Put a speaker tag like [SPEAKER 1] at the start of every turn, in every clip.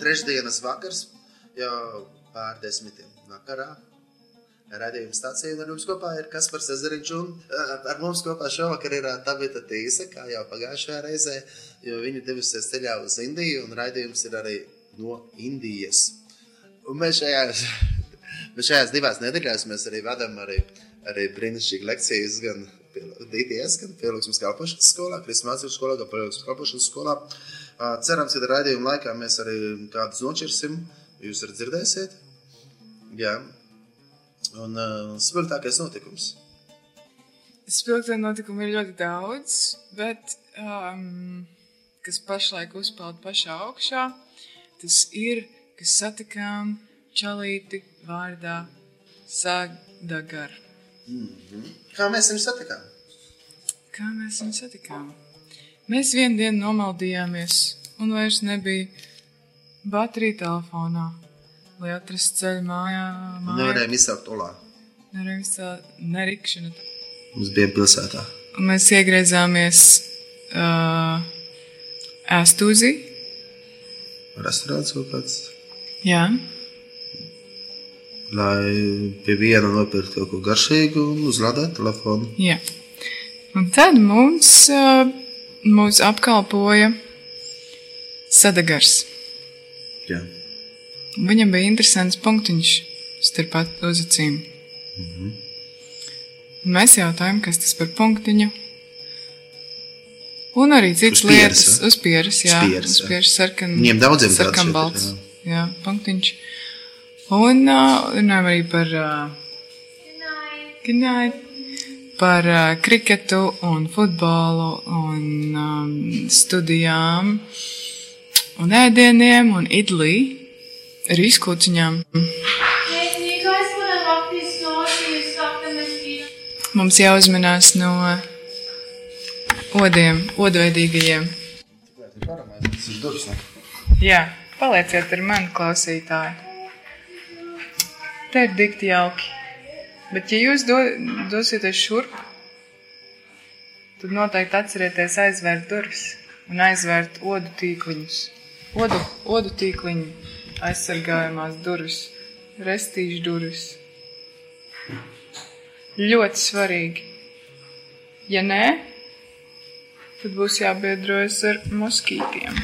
[SPEAKER 1] Trešdienas vakars, jau pār desmitiem vakarā. Radījuma stācija ar mums kopā ir Kaspars Zariņš, un uh, ar mums kopā šovakar ir uh, Tabita Tīsa, kā jau pagājušajā reizē, jo viņa devusies ceļā uz Indiju, un raidījums ir arī no Indijas. Un mēs šajās, mēs šajās divās nedēļās mēs arī vadām arī, arī brīnišķīgu lekcijas gan DTS, gan pielūgsmas kalpošanas skolā, kristālmācību skolā, gan pielūgsmas kalpošanas skolā. Uh, cerams, ka raidījuma laikā mēs arī kādus nošķirsim, jūs arī dzirdēsiet. Jā. Un uh, spilgtākais notikums.
[SPEAKER 2] Spilgtie notikumi ir ļoti daudz, bet um, kas pašlaik uzpeld pašā augšā, tas ir, kas satikām čalīti vārdā Sadagar.
[SPEAKER 1] Kā mēs viņu satikām?
[SPEAKER 2] Kā mēs viņu satikām? Mēs vienu dienu nomaldījāmies, un vairs nebija baterija telefonā, lai atrastu ceļu mājā. mājā.
[SPEAKER 1] Nevarējām izsākt olā.
[SPEAKER 2] Nevarējām izcelt nerikšanu.
[SPEAKER 1] Mums bija pilsētā.
[SPEAKER 2] Un mēs iegriezāmies uh, ēstūzī.
[SPEAKER 1] Restorāns kaut kāds.
[SPEAKER 2] Jā,
[SPEAKER 1] Lai pie viena nopirkt kaut ko garšīgu un uzlādēt telefonu.
[SPEAKER 2] jā. Un tad mums, uh, mums apkalpoja Sadagars.
[SPEAKER 1] Jā.
[SPEAKER 2] Viņam bija interesants punktiņš starp at- uz acīm.
[SPEAKER 1] Mhm.
[SPEAKER 2] Un Mēs jautājām, kas tas par punktiņu. Un arī citas
[SPEAKER 1] Uz pieres,
[SPEAKER 2] lietas,
[SPEAKER 1] vai?
[SPEAKER 2] uz pieras, jā,
[SPEAKER 1] Uz pieres,
[SPEAKER 2] uz
[SPEAKER 1] jā.
[SPEAKER 2] pieras sarkan,
[SPEAKER 1] Viņiem daudziem tāds šeit ir,
[SPEAKER 2] sarkanbalts. Mm. Jā, punktiņš. Un ā, runājam arī par uh, ā, Goodnight. Par uh, kriketu un futbolu un um, studijām un ēdieniem un idlī arī skūciņām.
[SPEAKER 3] Hey, do you guys want to lock these doors so you stop the mosquitoes?
[SPEAKER 2] Mums jāuzmanās no odiem, odveidīgajiem.
[SPEAKER 1] Tas ir durvis.
[SPEAKER 2] Jā, palieciet ar mani klausītāji. Te ir dikti jauki. Bet ja jūs do, dosieties šurp, tad noteikti atcerieties aizvērt durvis un aizvērt odu tīkliņus. Odu, odu tīkliņu aizsargājumās durvis, restīšu durvis. Ļoti svarīgi. Ja nē, tad būs jābiedrojas ar moskītiem.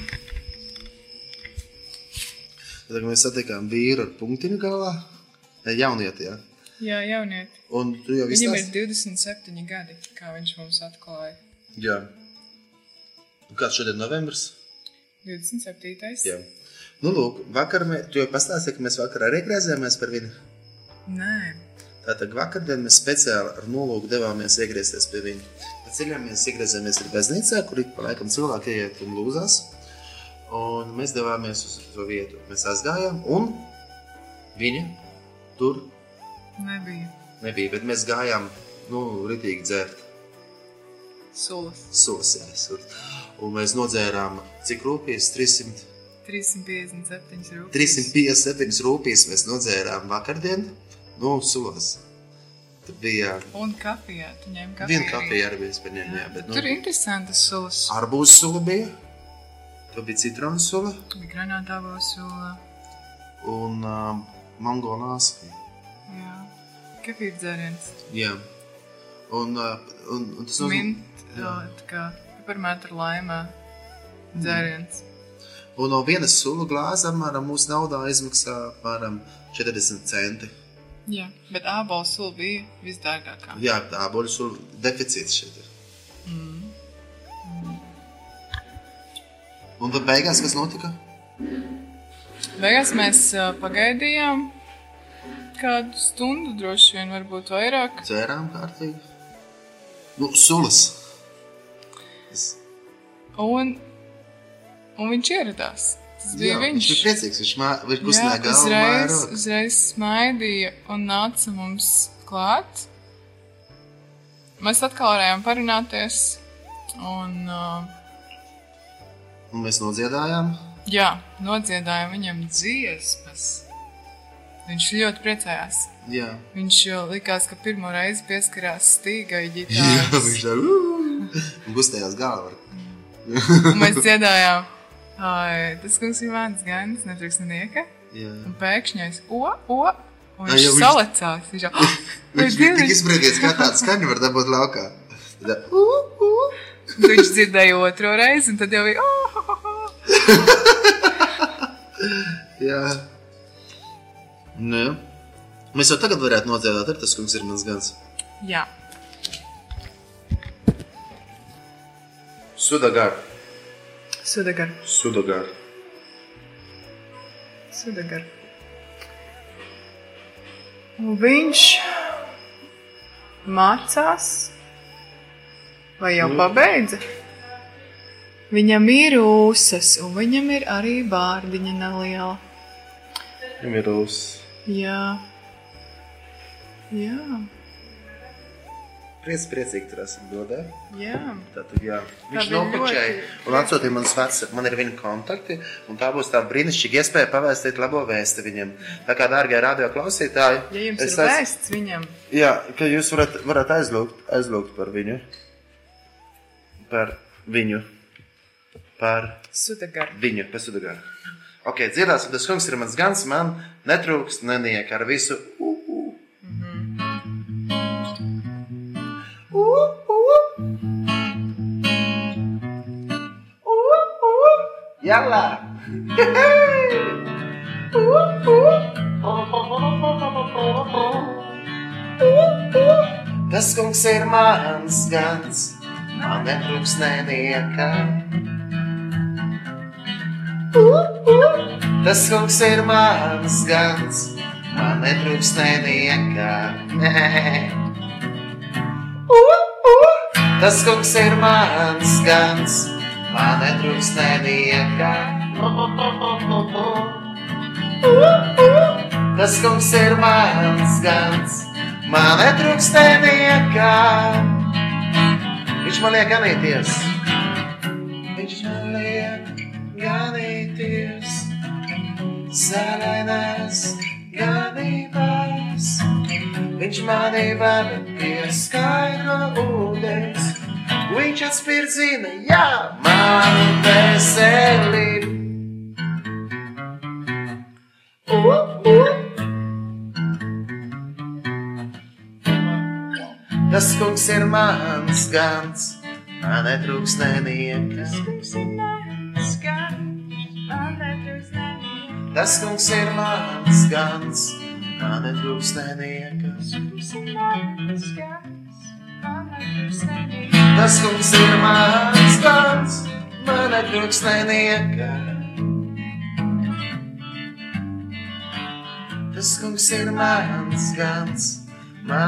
[SPEAKER 1] Tad mēs satikām vīru ar punktiņu galā. eh, Jaunieti, jā.
[SPEAKER 2] Jā, jaunieti.
[SPEAKER 1] Un tu jau
[SPEAKER 2] Viņam ir
[SPEAKER 1] izstāsti.
[SPEAKER 2] 27 gadi, kā viņš mums atklāja.
[SPEAKER 1] Jā. Un Kāds šodien novembris?
[SPEAKER 2] 27.
[SPEAKER 1] Jā. Nu, lūk, vakar mēs, tu jau pastāstīji, ka mēs vakar arī griezāmies par viņu.
[SPEAKER 2] Nē,
[SPEAKER 1] Tātad vakardien mēs speciāli ar nolūku devāmies iegriezties pie viņa. Pa ceļam mēs iegriezāmies arī baznīcā, kur ik pa laikam cilvēki iet un lūzās. Un mēs devāmies uz to vietu. Mēs aizgājām, un viņa tur
[SPEAKER 2] nebija
[SPEAKER 1] nebija. Bet mēs gājām, nu, ritīgi dzērt
[SPEAKER 2] sulas.
[SPEAKER 1] sosēs. Un, un mēs nodzērām, cik rūpīgi 300.
[SPEAKER 2] 357 rūpes.
[SPEAKER 1] 357 rūpijas mēs nodzērām vakardien, nu, sulas. Tur bija
[SPEAKER 2] Un kafijā. Tu ņem kafiju.
[SPEAKER 1] viena
[SPEAKER 2] arī.
[SPEAKER 1] kafija arī bija paņēmta, bet nu-
[SPEAKER 2] Tur ir interesantas sulas.
[SPEAKER 1] Arbūzs sula bija, tur bija citronu sula
[SPEAKER 2] Bija granātāvo sula.
[SPEAKER 1] un um, mango nāsaka.
[SPEAKER 2] Jā. Kafija dzēriens.
[SPEAKER 1] Jā. Un, uh, un, un tas nozīmē,
[SPEAKER 2] Mint. ā, Tā kā piparmētra laimā dzēriens.
[SPEAKER 1] ka no vienas sula glāzes apmēram mūsu naudā izmaksā apmēram 40 centi.
[SPEAKER 2] Jā. Bet ābola sula bija visdārgākā.
[SPEAKER 1] Jā, tā boļu sula deficīts šeit ir. Mm. Un tad beigās, kas notika?
[SPEAKER 2] Beigās mēs ā, pagaidījām kādu stundu, droši vien, varbūt vairāk.
[SPEAKER 1] Cērām kārtīgi. Nu, sulas. Es-
[SPEAKER 2] Un, un viņš ieradās. Tas bija
[SPEAKER 1] Jā,
[SPEAKER 2] viņš.
[SPEAKER 1] Viņš bija priecīgs, viņš, mā, viņš
[SPEAKER 2] Jā,
[SPEAKER 1] kustināja galvu.
[SPEAKER 2] uzreiz,
[SPEAKER 1] vairogu.
[SPEAKER 2] uzreiz smaidīja un nāca mums klāt. Mēs atkal varējām parunāties. Un, uh,
[SPEAKER 1] Un mēs nodziedājām.
[SPEAKER 2] jā, nodziedājām viņam dziesmas. Viņš ļoti priecājās.
[SPEAKER 1] Jā,
[SPEAKER 2] Viņš jau likās, ka pirmo reizi pieskarās stīgai
[SPEAKER 1] jā
[SPEAKER 2] ģitārai.
[SPEAKER 1] viņš tā gustējās galvā.
[SPEAKER 2] Un Mēs dziedājām Ai, tas kungs ir mans gans, netrūks nenieka.
[SPEAKER 1] Jā.
[SPEAKER 2] Un pēkšņi es, o, o, un
[SPEAKER 1] Ai,
[SPEAKER 2] viņš
[SPEAKER 1] jau viņš-
[SPEAKER 2] salacās. Viņš jau,
[SPEAKER 1] Viņš
[SPEAKER 2] Vai
[SPEAKER 1] bija tik
[SPEAKER 2] zini?
[SPEAKER 1] izbrīdīts, kā tāds skaņu var dabūt laukā. Tad,
[SPEAKER 2] Un Viņš dzirdēja otro reizi, un tad jau bija, oh, oh, oh.
[SPEAKER 1] jā. Nu, jā. Mēs jau tagad varētu nodēvēt, ar tas kungs ir mans gans.
[SPEAKER 2] Jā,
[SPEAKER 1] Sudagar,
[SPEAKER 2] sudagar,
[SPEAKER 1] sudagar.
[SPEAKER 2] sudagar. Un viņš mācās, vai
[SPEAKER 1] Mm.
[SPEAKER 2] jau pabeidza? Viņam ir ūsas, un viņam ir arī bārdiņa neliela.
[SPEAKER 1] Viņam ir uz
[SPEAKER 2] Jā, jā,
[SPEAKER 1] priec, priecīgi tur esam dodē.
[SPEAKER 2] jā.
[SPEAKER 1] Tātad, jā. Viņš
[SPEAKER 2] bija
[SPEAKER 1] nav pačai. Un atsūtīja manas vecas, man ir viņa kontakti, un tā būs tā brīnišķīga iespēja pavēstīt labo vēsti viņam. Tā kā, dārgie radio klausītāji,
[SPEAKER 2] Ja jums
[SPEAKER 1] es
[SPEAKER 2] ir
[SPEAKER 1] aiz-
[SPEAKER 2] vēsts viņam,
[SPEAKER 1] Jā, ka jūs varat, varat aizlūgt, aizlūgt par viņu. Par viņu. Par
[SPEAKER 2] sudagar.
[SPEAKER 1] viņu, pasudagāru. Ok, dziedāsim, tas kungs ir mans gans, man netrūks neniek ar visu. U, u. U, u. U, u. Jalla! U, u. U, u. Tas kungs ir mans gans, man netrūks neniekam. Tas kungs ir mans gans, man netrūks neniekā. Nē. Tas kungs ir mans gans, man netrūks neniekā. Tas kungs ir mans gans, man netrūks neniekā. Viņš man liek ganīties. Viņš man liek ganīties sarkanās ganībās. Viņš manī var pieskaidro ūdens, viņš atspirdzina, jā, manu veselību. Uh, uh. Tas kungs ir mans gans, man netrūks neniekas. Tas kungs ir mans gans, man netrūks neniekas. Tas kungs ir mans gans, man netrūks neniekas. Tas kungs ir mans gans, man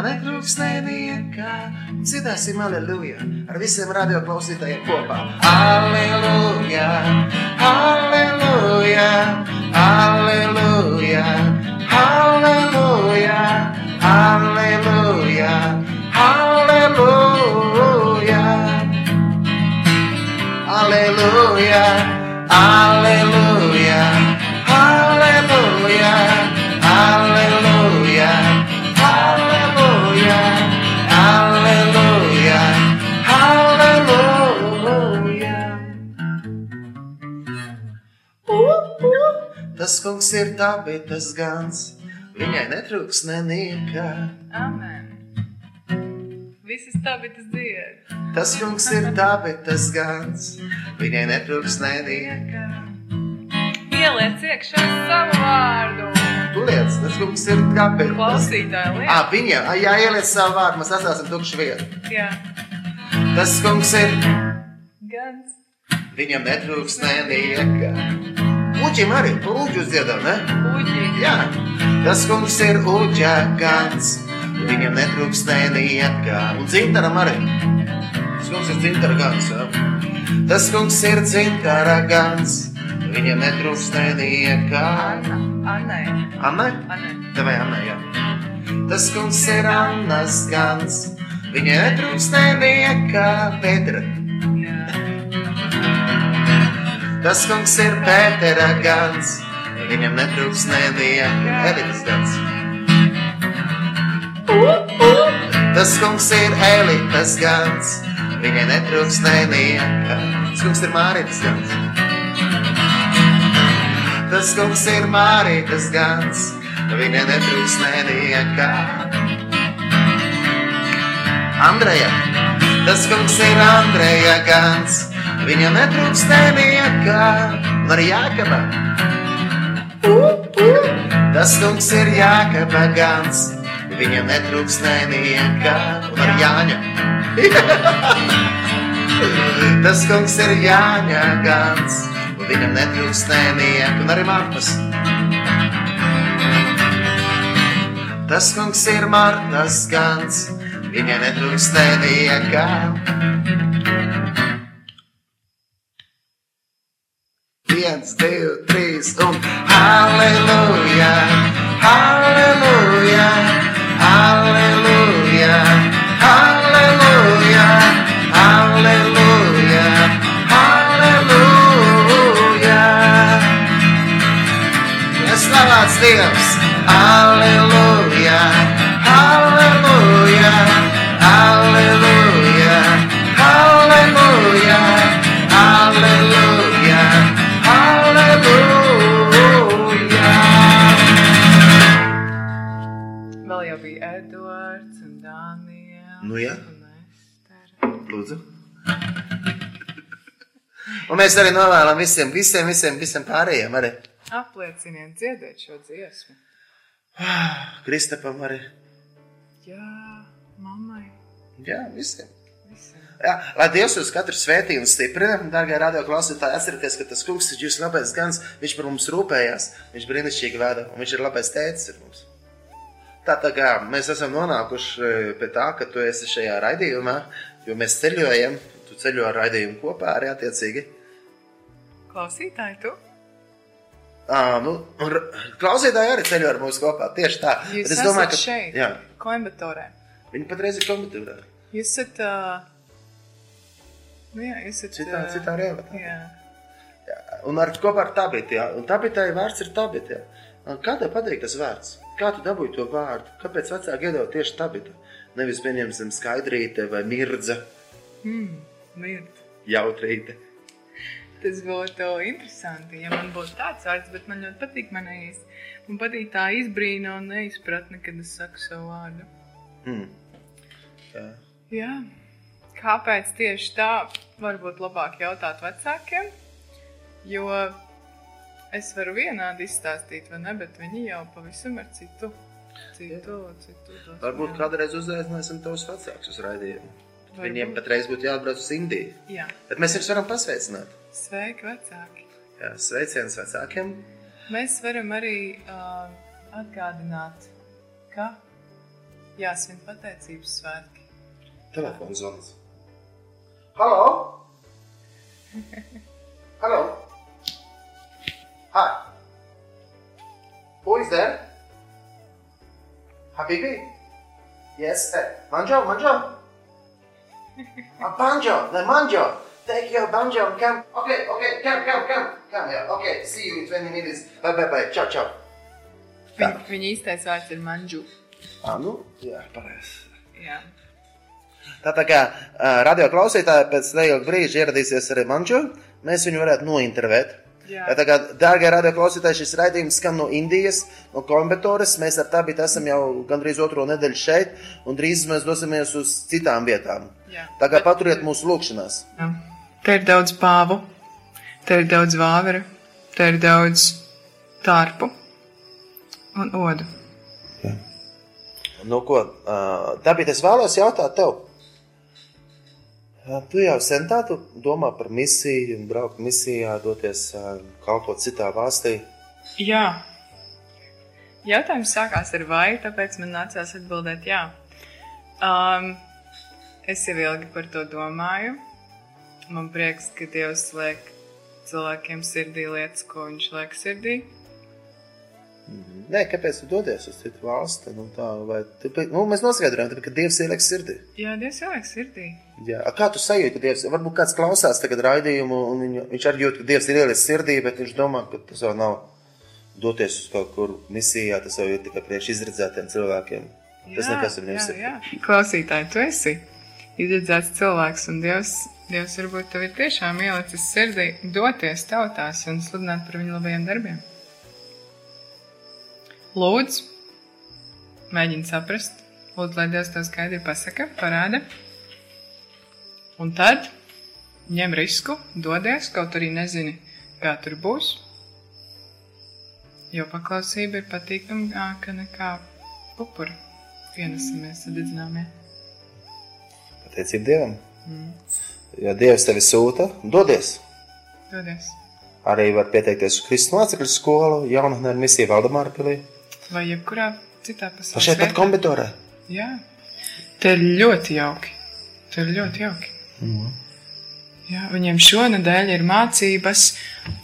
[SPEAKER 1] netrūks neniekas. Un Dziedāsim aleluja ar visiem radio klausītājiem kopā. Aleluja, aleluja, aleluja, aleluja, aleluja, aleluja. Aleluja, aleluja, aleluja, aleluja, aleluja, aleluja, aleluja. Tas kungs ir dabītas gans, viņai netrūks neniekā.
[SPEAKER 2] Amen. Visas tabitas dievi.
[SPEAKER 1] Tas kungs ir dabītas gans, viņai netrūks neniekā.
[SPEAKER 2] Ieliec iekšā savu vārdu.
[SPEAKER 1] Tu liec, tas kungs ir dabītas.
[SPEAKER 2] Klausītāji
[SPEAKER 1] Ā,
[SPEAKER 2] liek.
[SPEAKER 1] viņa, ā, jā, ieliec savu vārdu, mēs atstāsim tukšu vietu.
[SPEAKER 2] Jā,
[SPEAKER 1] Tas kungs ir,
[SPEAKER 2] gans.
[SPEAKER 1] viņam netrūks neniekā. Uģim arī, tu uģi uzdziedam, ne?
[SPEAKER 2] Uģi.
[SPEAKER 1] Jā, tas kungs ir uģēkāns. Viņam netrūks neniekā. Un dzintaram arī. Tas kungs ir dzintaragāns. jā. Tas kungs ir dzintaragāns. Viņam netrūks neniekā.
[SPEAKER 2] Anna. Annai.
[SPEAKER 1] Anna?
[SPEAKER 2] Annai.
[SPEAKER 1] Tevai Anna, jā. Tas kungs ir Annas gans. Viņam netrūks neniekā. Pētera.
[SPEAKER 2] Jā.
[SPEAKER 1] Tas kungs ir Pētera gans. Viņam netrūks neviena elites gans. Tas kungs ir elites gans. Viņai netrūks neviena. Tas kungs ir Mārītas gans. Tas kungs ir mārītas gans, viņa netrūks nevienā. Andreja, tas kungs ir Andreja gans, viņa netrūks nevienā. Un arī Jākaba. Tas kungs ir Jākaba gans, viņa netrūks nevienā. Un arī Jāņa. Tas kungs ir Jāņa Gans, un viņam netrūkst nevienu, un arī Martas. Tas kungs ir Martas Gans, viņam netrūkst nevienu. Viens, divi, trīs, un halleluja, halleluja, halleluja, halleluja, halleluja, halleluja. Slavēts Dievs! Aleluja! Aleluja! Aleluja! Aleluja! Aleluja! Aleluja!
[SPEAKER 2] Vēl jau bija Edvards un Dānijas.
[SPEAKER 1] Nu jā.
[SPEAKER 2] Un Estera.
[SPEAKER 1] Lūdzu! Un mēs arī novēlam visiem, visiem, visiem, visiem pārējiem, arī
[SPEAKER 2] Aplieciniet, dziediet šo dziesmu.
[SPEAKER 1] Ah, Kristapam, arī
[SPEAKER 2] Jā, mammai.
[SPEAKER 1] Jā, visiem.
[SPEAKER 2] Visiem.
[SPEAKER 1] Jā, lai Dievs jūs katru svētī un stiprina, darbie radioklausītāji, atcerieties, ka tas kungs ir jūsu labais gans, viņš par mums rūpējās, viņš brīnišķīgi vada un viņš ir labais tēcis ar mums. Tā, tā kā mēs esam nonākuši eh, pie tā, ka tu esi šajā raidījumā, jo mēs ceļojam, tu ceļo ar raidījumu kopā arī attiecīgi.
[SPEAKER 2] Klausītāji, tu?
[SPEAKER 1] À, nu, un r- klausītāji arī ceļo ar mums kopā, tieši tā.
[SPEAKER 2] Jūs
[SPEAKER 1] Bet es
[SPEAKER 2] esat
[SPEAKER 1] domāju, ka-
[SPEAKER 2] šeit.
[SPEAKER 1] Jā,
[SPEAKER 2] Koimbatorē.
[SPEAKER 1] viņi patreiz ir komitūrā.
[SPEAKER 2] Jūs esat. Uh... Nu jā, jūs esat.
[SPEAKER 1] Citā-
[SPEAKER 2] ā,
[SPEAKER 1] citā rēvatā.
[SPEAKER 2] Jā.
[SPEAKER 1] Un ar kopā ar tabitu, jā. Un tabitai vārds ir tabitu, jā. Kā tev patīk tas vārds? Kā tu dabūji to vārdu? Kāpēc vecāki iedod tieši tabitu? Nevis, pieņemsim, skaidrīte vai mirdza,
[SPEAKER 2] Mm, mird.
[SPEAKER 1] jautrīte.
[SPEAKER 2] Tas būtu interesanti, ja man būtu tāds vārds, bet man ļoti patīk manējais. Man patīk tā izbrīna un neizpratne, kad es saku savu vārdu.
[SPEAKER 1] Hmm. Jā.
[SPEAKER 2] Jā. Kāpēc tieši tā? Varbūt labāk jautāt vecākiem, jo es varu vienādi izstāstīt, vai ne, bet viņi jau pavisam ar citu. Citu, citu. dosmi.
[SPEAKER 1] Varbūt kādreiz uzaicināsim tavus vecākus uz raidījumu.
[SPEAKER 2] Varbūt.
[SPEAKER 1] Viņiem patreiz būtu jāatbrauc uz Indiju.
[SPEAKER 2] Jā.
[SPEAKER 1] Bet mēs viņus varam pasveicināt.
[SPEAKER 2] Sveiki, vecāki!
[SPEAKER 1] Jā, sveiciens vecākiem.
[SPEAKER 2] Mēs varam arī uh, atgādināt, ka jāsvin pateicības svētki.
[SPEAKER 1] Telefons zvans. Halo? Halo? Hi. Who is there? Habibi? Yes, eh, Manjo, Manjo. A banjo, the banjo. Take your banjo and come. Okay, okay, come, come, come. Come here. Okay, see you in 20 minutes. Bye, bye, bye. Ciao, ciao.
[SPEAKER 2] Viņ, viņa īstais vārds ir manžu.
[SPEAKER 1] Ah, nu, jā, pareizi.
[SPEAKER 2] Jā.
[SPEAKER 1] Tā, tā kā uh, radio klausītāji pēc neilga brīža ieradīsies arī Manču, mēs viņu varētu nointervēt.
[SPEAKER 2] Jā.
[SPEAKER 1] Tā kā, dārgie radio klausītāji, šis raidījums skan no Indijas, no Kombatoras. Mēs ar tādu esam jau gandrīz otro nedēļu šeit, un drīz mēs dosimies uz citām vietām.
[SPEAKER 2] Jā.
[SPEAKER 1] Tā kā paturiet mūsu lūgšanās.
[SPEAKER 2] Jā. Te ir daudz pāvu, te ir daudz vāveru, te ir daudz tārpu un odu.
[SPEAKER 1] Nu, ko, uh, tāpēc es vēlos jautāt tev. Ā, Tu jau sen tā tu domā par misiju, braukt misijā, doties ā, kalpot citā valstī.
[SPEAKER 2] Jā. Jautājums sākās ar vai, tāpēc man nācās atbildēt jā. Um, es jau ilgi par to domāju. Man prieks, ka Dievs liek cilvēkiem sirdī lietas, ko viņš liek sirdī.
[SPEAKER 1] Nē, kāpēc tu dodies uz citu valsti? Nu, tā, vai tu, pa- nu, mēs noskaidrojām, tāpēc, ka Dievs ieliek sirdī.
[SPEAKER 2] Jā, Dievs jau liek sirdī.
[SPEAKER 1] Jā. a Kā tu sajūti, ka Dievs, varbūt kāds klausās tagad raidījumu, un viņu, viņš arī jūt, ka Dievs ir ielicis sirdī, bet viņš domā, ka tas jau nav doties uz kaut kur misijā, tas jau ir tikai priekš izredzētiem cilvēkiem. Tas
[SPEAKER 2] Jā,
[SPEAKER 1] nekas ir
[SPEAKER 2] jā,
[SPEAKER 1] nevis.
[SPEAKER 2] jā. Klausītāji, tu esi izredzēts cilvēks, un Dievs, Dievs varbūt tev ir tiešām ielicis sirdī doties tautās un sludināt par viņu labajiem darbiem. Lūdzu, mēģini saprast, lūdzu, lai Dievs tev skaidri pasaka, parāda. Un tad ņem risku, dodies, kaut arī nezini, kā tur būs. Jo paklausība ir patīkamāka nekā upura pienesamies, sadedzināmies.
[SPEAKER 4] Pateicība Dievam.
[SPEAKER 2] Mm.
[SPEAKER 4] Ja Dievs tevi sūta, dodies.
[SPEAKER 2] Dodies.
[SPEAKER 4] Arī var pieteikties uz Kristus mācekļu skolu, jaunatnē ar misiju Valdemāra pilī.
[SPEAKER 2] Vai jebkurā citā
[SPEAKER 4] Pa
[SPEAKER 2] pasaulē.
[SPEAKER 4] šeit pat kombitorē.
[SPEAKER 2] Jā, te ir ļoti jauki. Te ir ļoti jauki. Jā, viņiem šonadēļ ir mācības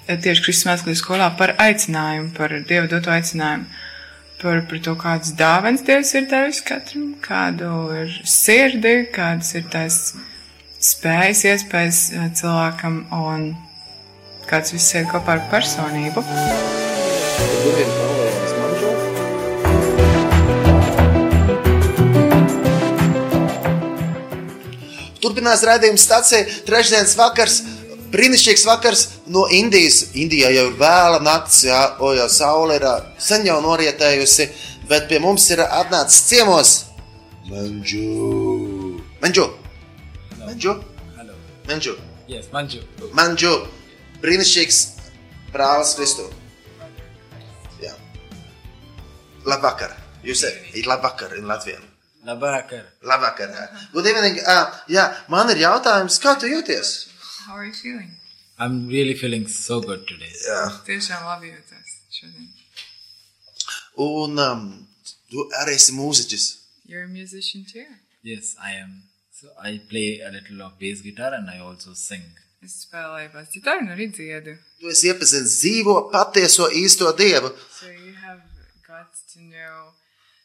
[SPEAKER 2] eh, tieši Kristīnas skolā par aicinājumu, par Dieva doto aicinājumu, par, par to, kādas dāvanas Dievs ir devis katram, kādu ir sirdi, kādas ir tās spējas, iespējas eh, cilvēkam un kāds viss ir kopā ar personību.
[SPEAKER 4] Durvīm pavēlējās man šo.
[SPEAKER 1] Turpinās rādījuma stācija. Trešdienas vakars, brīnišķīgs vakars no Indijas. Indijā jau ir vēla naktis, jā, o, jau saule ir ā, sen jau norietējusi, bet pie mums ir atnācis ciemos Manžu. Manžu. Manžu.
[SPEAKER 5] Hello.
[SPEAKER 1] Manžu.
[SPEAKER 5] Yes, Manju.
[SPEAKER 1] Manžu. Brīnišķīgs brālis Kristu. Jā. Labvakar. Jūs esat labvakar Latvijā.
[SPEAKER 5] Labvakar.
[SPEAKER 1] Labvakar. jā. Good evening. Uh, jā, man ir jautājums, kā tu jūties?
[SPEAKER 2] How are you feeling?
[SPEAKER 5] I'm really feeling so good today.
[SPEAKER 1] Jā.
[SPEAKER 2] Tiešām labi jūties šodien.
[SPEAKER 1] Un um, tu arī esi mūziķis.
[SPEAKER 2] You're a musician too.
[SPEAKER 5] Yes, I am. So I play a little of bass guitar and I also sing.
[SPEAKER 2] Es spēlēju basģitāru un arī dziedu.
[SPEAKER 1] Tu esi iepazinis dzīvo patieso īsto dievu.
[SPEAKER 2] So you have got to know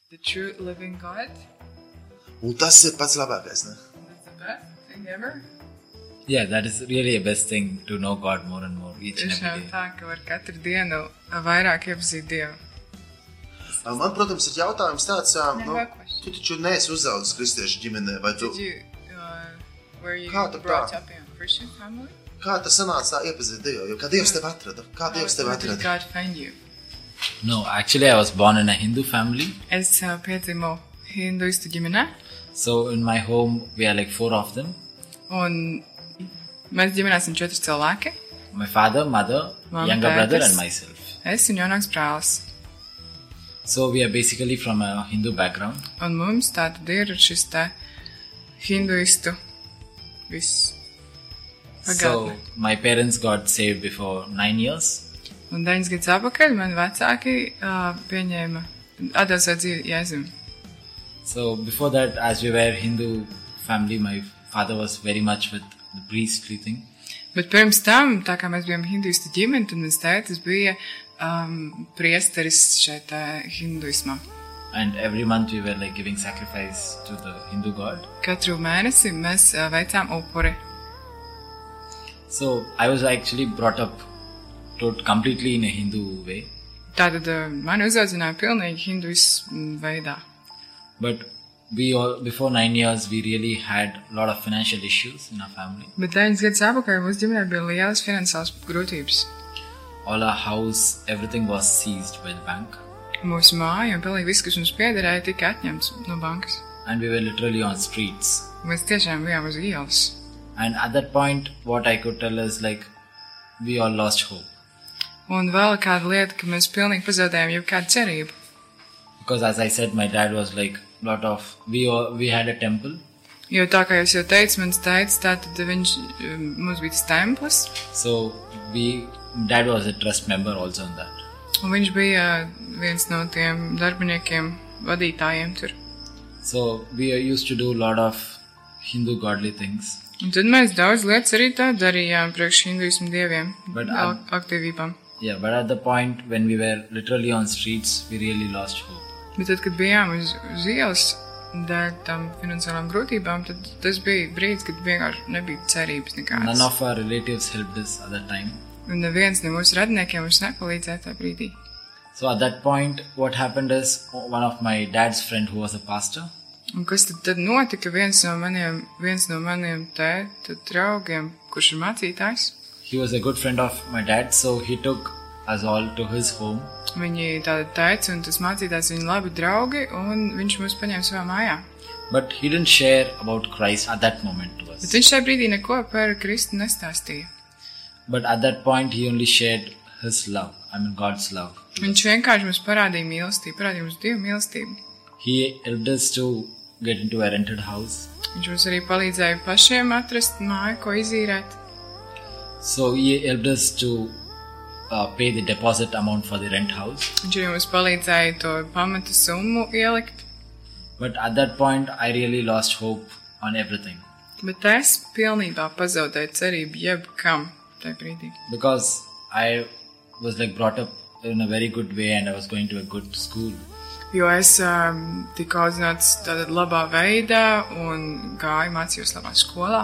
[SPEAKER 2] the true living God.
[SPEAKER 1] Un tas ir pats labākais. Ne?
[SPEAKER 2] That's the best thing ever.
[SPEAKER 5] Yeah, that is really a best thing to know God more and more each and every
[SPEAKER 2] Tiešām
[SPEAKER 5] day.
[SPEAKER 2] tā, ka var katru dienu vairāk iepazīt Dievu.
[SPEAKER 1] Uh, Man, protams, ir jautājums tāds, um,
[SPEAKER 2] Nē,
[SPEAKER 1] nu,
[SPEAKER 2] vēl question.
[SPEAKER 1] tu taču neesi uzaugusi kristiešu ģimenē, vai tu?
[SPEAKER 2] Did you, uh, were you
[SPEAKER 1] Kā tu
[SPEAKER 2] brought
[SPEAKER 1] tā?
[SPEAKER 2] up in a Christian family?
[SPEAKER 1] Kā tas sanāca tā iepazīt Dievu? Jo kā Dievs tevi atrada? Kā Dievs tevi
[SPEAKER 2] How did
[SPEAKER 1] atrada?
[SPEAKER 2] God find you?
[SPEAKER 5] No, actually, I was born in a Hindu family.
[SPEAKER 2] Es uh, piedzimu hinduistu ģimenē,
[SPEAKER 5] So in my home, we are like four of them
[SPEAKER 2] un mēs ģimenē esam četri cilvēki.
[SPEAKER 5] my father, mother,
[SPEAKER 2] Mom,
[SPEAKER 5] younger brother,
[SPEAKER 2] dad, yes.
[SPEAKER 5] and myself.
[SPEAKER 2] Es un jaunāks brālis.
[SPEAKER 5] So we are basically from a Hindu background.
[SPEAKER 2] Un mums tā tad ir šis te hinduistu viss.
[SPEAKER 5] So
[SPEAKER 2] Pagātne.
[SPEAKER 5] my parents got saved before nine years.
[SPEAKER 2] Un deviņas gadus atpakaļ man vecāki uh, pieņēma atdāsot dzīvi Jēzum.
[SPEAKER 5] So before that, as we were Hindu family, my father was very much with the priestly thing.
[SPEAKER 2] Bet pirms tam, tā kā mēs bijām hinduistu ģimeni, tad mans tētis bija um, priesteris šeit uh, hinduismā.
[SPEAKER 5] And every month we were like giving sacrifice to the Hindu god.
[SPEAKER 2] Katru mēnesi mēs uh, veicām upuri.
[SPEAKER 5] So I was actually brought up to completely in a Hindu way.
[SPEAKER 2] Tātad uh, mani uzaudzināja pilnīgi hinduismu veidā.
[SPEAKER 5] But we all, before nine years, we really had a lot of financial issues in our family.
[SPEAKER 2] Bet deviņas gadus atpakaļ mūsu ģimenē bija lielas finansiālas grūtības.
[SPEAKER 5] All our house, everything was seized by the bank.
[SPEAKER 2] Mūsu māja un pilnīgi viss, kas mums piederēja, tika atņemts no bankas.
[SPEAKER 5] And we were literally on streets.
[SPEAKER 2] Mēs tiešām bijām uz ielas.
[SPEAKER 5] And at that point, what I could tell is like, we all lost hope.
[SPEAKER 2] Un vēl kāda lieta, ka mēs pilnīgi pazaudējām jebkādu cerību.
[SPEAKER 5] because as i said my dad was like lot of we all, we had a temple
[SPEAKER 2] Jo tā kā jūs jau teicāt, mans teicis, tātad viņš um, mums bija tas templis,
[SPEAKER 5] so we dad was a trust member also in that
[SPEAKER 2] un viņš bija uh, viens no tiem darbiniekiem, vadītājiem tur.
[SPEAKER 5] so we used to do a lot of hindu godly things
[SPEAKER 2] Un tad mēs daudz lietas arī tā darījām priekš hinduismu dieviem,
[SPEAKER 5] Bet,
[SPEAKER 2] ak-
[SPEAKER 5] um,
[SPEAKER 2] aktīvībām.
[SPEAKER 5] yeah but at the point when we were literally on streets we really lost hope
[SPEAKER 2] Bet tad, kad bijām uz, uz ielas dēļ tam finansiālām grūtībām, tad tas bija brīdis, kad vienkārši nebija cerības nekādas.
[SPEAKER 5] none of our relatives helped us at that time
[SPEAKER 2] Un neviens no mūsu radniekiem mums nepalīdzēja tajā brīdī.
[SPEAKER 5] so at that point what happened is one of my dad's friend who was a pastor
[SPEAKER 2] Un kas tad, tad notika? Viens no maniem, viens no maniem tēta draugiem, kurš ir mācītājs,
[SPEAKER 5] he was a good friend of my dad so he took us all to his home
[SPEAKER 2] Viņi tādu teica, un tas mācītājs viņa labi draugi, un viņš mūs paņēma savā mājā.
[SPEAKER 5] But he didn't share about Christ at that moment to
[SPEAKER 2] Bet
[SPEAKER 5] us.
[SPEAKER 2] viņš šai brīdī neko par Kristu nestāstīja.
[SPEAKER 5] But at that point, he only shared his love. I mean, God's love. to us.
[SPEAKER 2] Viņš vienkārši mums parādīja mīlestību, parādīja mums dievu mīlestību.
[SPEAKER 5] He helped us to get into a rented house.
[SPEAKER 2] Viņš mums arī palīdzēja pašiem atrast māju, ko izīrēt.
[SPEAKER 5] So he helped us to uh, pay the deposit amount for the rent house.
[SPEAKER 2] Viņš arī mums palīdzēja to pamatu summu ielikt.
[SPEAKER 5] But at that point, I really lost hope on everything
[SPEAKER 2] Bet es pilnībā pazaudēju cerību jebkam tajā brīdī.
[SPEAKER 5] because I was like brought up in a very good way and I was going to a good school.
[SPEAKER 2] Jo es um, tiku audzināts tādā labā veidā un gāju mācījos labā skolā.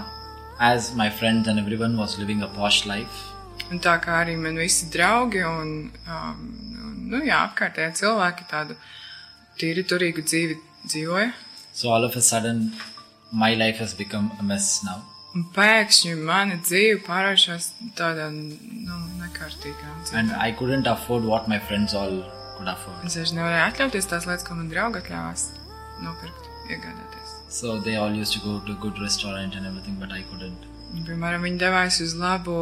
[SPEAKER 5] As my friends and everyone was living a posh life,
[SPEAKER 2] Un tā kā arī man visi draugi un, um, un nu, jā, apkārtējie cilvēki tādu tīri turīgu dzīvi dzīvoja.
[SPEAKER 5] so all of a sudden, my life has become a mess now.
[SPEAKER 2] Un pēkšņi mana dzīve pārvēršas tādā nu, nekārtīgā dzīvē.
[SPEAKER 5] And I couldn't afford what my friends all could afford.
[SPEAKER 2] Es vairs nevarēju atļauties tās lietas, ko man draugi atļāvās nopirkt, iegādāties.
[SPEAKER 5] So they all used to go to good restaurant and everything, but I couldn't.
[SPEAKER 2] Un, Piemēram, viņi devās uz labu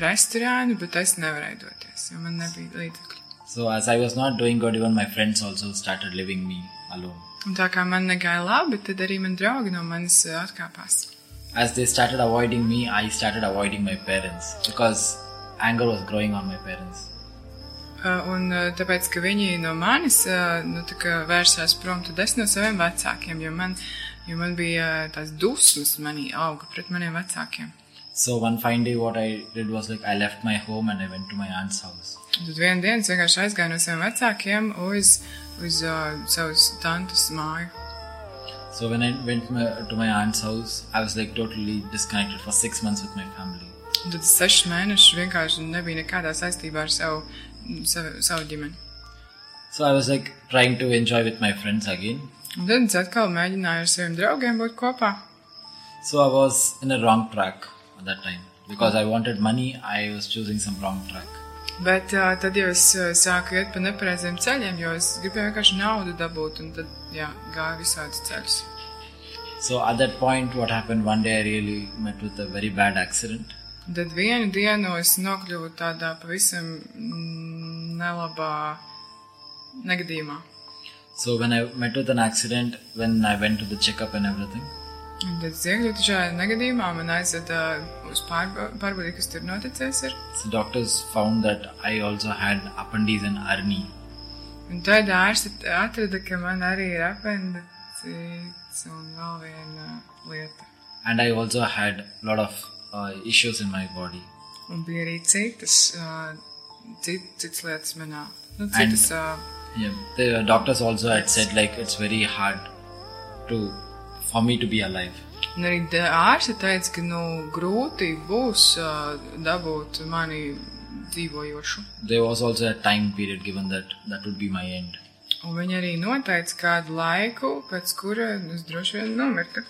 [SPEAKER 2] restorānu, bet es nevarēju doties, jo man nebija līdzekļu.
[SPEAKER 5] So as I was not doing good, even my friends also started leaving me alone.
[SPEAKER 2] Un tā kā man negāja labi, tad arī man draugi no manis eh, atkāpās.
[SPEAKER 5] As they started avoiding me, I started avoiding my parents because anger was growing on my parents.
[SPEAKER 2] Eh, Un eh, tāpēc, ka viņi no manis eh, nu, tā kā vērsās prom, tad es no saviem vecākiem, jo man, jo man bija eh, tās dusmas, manī auga pret maniem vecākiem.
[SPEAKER 5] So one fine day, what I did was like I left my home and I went to my aunt's house.
[SPEAKER 2] Un Tad vienā dienā es vienkārši aizgāju no saviem vecākiem uz, uz uh, savas tantes māju.
[SPEAKER 5] So when I went my, to my aunt's house, I was like totally disconnected for six months with my family.
[SPEAKER 2] Un Tad seši mēneši vienkārši nebija nekādā saistībā ar savu, savu, savu ģimeni.
[SPEAKER 5] So I was like trying to enjoy with my friends again.
[SPEAKER 2] Un tad es atkal mēģināju ar saviem draugiem būt kopā.
[SPEAKER 5] So I was in a wrong track at that time because I wanted money. I was choosing some wrong track.
[SPEAKER 2] Bet uh, tad jau es uh, sāku iet pa nepareiziem ceļiem, jo es gribēju vienkārši naudu dabūt, un tad jā, gāju visādus ceļus.
[SPEAKER 5] So at that point, what happened one day, I really met with a very bad accident.
[SPEAKER 2] Un Tad vienu dienu es nokļuvu tādā pavisam mm, nelabā negadījumā.
[SPEAKER 5] So when I met with an accident, when I went to the checkup and everything,
[SPEAKER 2] Un Tad ziegļotu šajā negadījumā man aizveda uz pārba- pārbaudi, kas tur noticis. Ir.
[SPEAKER 5] so doctors found that I also had appendices and hernia.
[SPEAKER 2] Un tad ārsti atrada, ka man arī ir apendicīts un vēl viena lieta.
[SPEAKER 5] And I also had a lot of uh, issues in my body.
[SPEAKER 2] Un bija arī citas, ā, cit, citas lietas manā. Nu,
[SPEAKER 5] And-
[SPEAKER 2] citas, ā,
[SPEAKER 5] Yeah, the doctors also had said like it's very hard to for me to be alive.
[SPEAKER 2] un arī da- ārsti teica, ka nu, grūti būs ā, dabūt mani dzīvojošu.
[SPEAKER 5] There was also a time period given that that would be my end.
[SPEAKER 2] Un viņi arī noteica kādu laiku, pēc kura es droši vien nomirtu.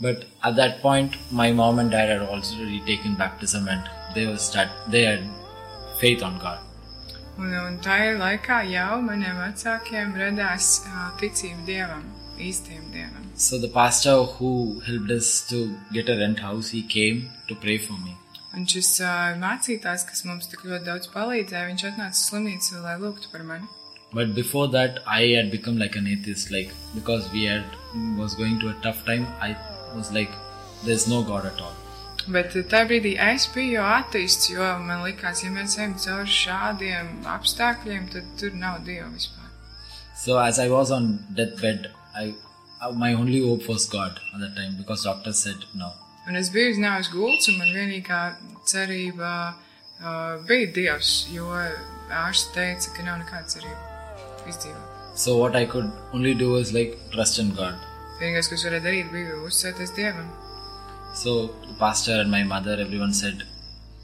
[SPEAKER 5] But at that point, my mom and dad had also already taken baptism, and they were start they had faith on God.
[SPEAKER 2] Un, un tajā laikā jau maniem vecākiem radās ā, ticība dievam, īstajam dievam.
[SPEAKER 5] So the pastor who helped us to get a rent house, he came to pray for me.
[SPEAKER 2] Un šis ā, mācītājs, kas mums tik ļoti daudz palīdzēja, viņš atnāca uz slimnīcu, lai lūgtu par mani.
[SPEAKER 5] But before that, I had become like an atheist, like because we had was going to a tough time. I was like, there's no God at all.
[SPEAKER 2] Bet ā, tajā brīdī es biju jau attīstīts, jo man likās, ja mēs ejam cauri šādiem apstākļiem, tad tur nav dieva vispār.
[SPEAKER 5] So as I was on deathbed, I uh, my only hope was God at that time because doctor said no.
[SPEAKER 2] Un es biju uznāvis gults, un man vienīgā cerība uh, bija dievs, jo ārsts teica, ka nav nekāda cerība izdzīvot.
[SPEAKER 5] So what I could only do was like trust in God.
[SPEAKER 2] Vienīgais, ko es varēju darīt, bija uzsēties dievam.
[SPEAKER 5] So the pastor and my mother, everyone said,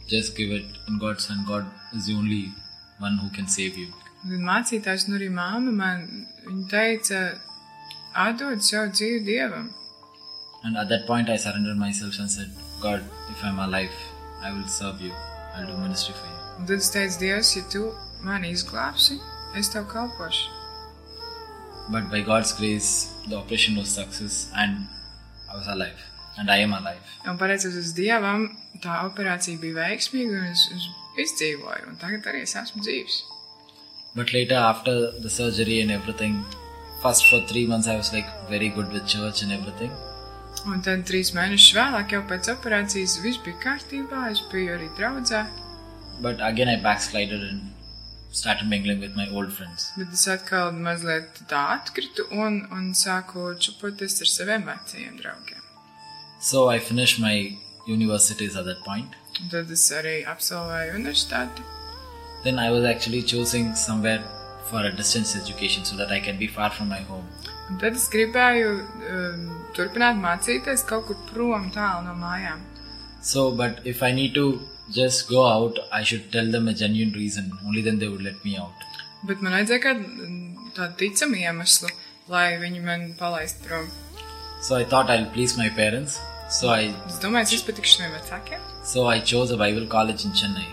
[SPEAKER 5] just give it in God's hand. God is the only one who can save you.
[SPEAKER 2] Un mācītājs, nu arī māma man viņa teica, atdod savu dzīvi dievam.
[SPEAKER 5] And at that point, I surrendered myself and said, God, if I'm alive, I will serve you. I'll do ministry for you.
[SPEAKER 2] Un tad es teicu, Dievs, ja tu mani izglābsi, es tev kalpošu.
[SPEAKER 5] But by God's grace, the operation was success and I was alive. And I am alive.
[SPEAKER 2] Un pateicoties Dievam, tā operācija bija veiksmīga un es, es izdzīvoju. Un tagad arī es esmu dzīves.
[SPEAKER 5] But later, after the surgery and everything, first for three months I was like very good with church and everything.
[SPEAKER 2] Un tad trīs mēnešus vēlāk, jau pēc operācijas, viss bija kārtībā. Es biju arī draudzē,
[SPEAKER 5] But again, I backslided and started mingling with my old friends.
[SPEAKER 2] bet es atkal mazliet tā atkritu un, un sāku čupoties ar saviem vecajiem draugiem.
[SPEAKER 5] So I finished my universities at that point.
[SPEAKER 2] Un tad es arī absolvēju universitāti.
[SPEAKER 5] Then I was actually choosing somewhere for a distance education so that I can be far from my home.
[SPEAKER 2] Un tad es gribēju um, turpināt mācīties kaut kur prom, tālu no mājām.
[SPEAKER 5] So, but if I need to just go out, I should tell them a genuine reason. Only then they would let me out.
[SPEAKER 2] Bet man vajadzēja kādu mm, tādu ticamu iemeslu, lai viņi man palaistu prom.
[SPEAKER 5] So I thought I'll please my parents. So I
[SPEAKER 2] Es domāju, es izpatikšu saviem vecākiem.
[SPEAKER 5] so I chose a Bible college in Chennai.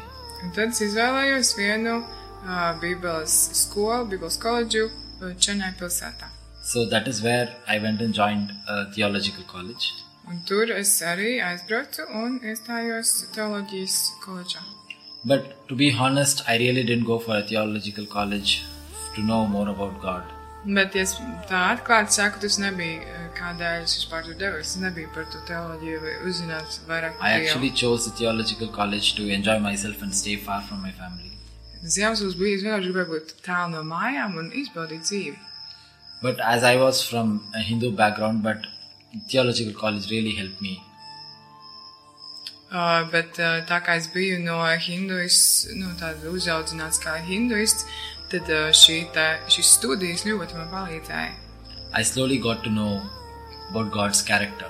[SPEAKER 2] Un tad es izvēlējos vienu uh, Bībeles skolu, Bībeles koledžu ā, Čenai pilsētā.
[SPEAKER 5] So that is where I went and joined a theological college.
[SPEAKER 2] Un tur es arī aizbraucu un iestājos teoloģijas koledžā.
[SPEAKER 5] But to be honest, I really didn't go for a theological college to know more about God.
[SPEAKER 2] Bet, ja es tā atklāti saku, tas nebija ā, kādēļ es vispār tur devos. Tas nebija par to teoloģiju, vai uzzināt vairāk
[SPEAKER 5] I
[SPEAKER 2] par
[SPEAKER 5] actually
[SPEAKER 2] Dievu.
[SPEAKER 5] chose the theological college to enjoy myself and stay far from my family.
[SPEAKER 2] Tas iemesls bija, es vienkārši gribēju būt tālu no mājām un izbaudīt dzīvi.
[SPEAKER 5] But as I was from a Hindu background, but theological college really helped me.
[SPEAKER 2] Uh, bet uh, tā kā es biju no hinduists, nu, tāda uzaudzināts kā hinduists, tad uh, šī tā, šīs studijas ļoti man palīdzēja.
[SPEAKER 5] I slowly got to know about God's character,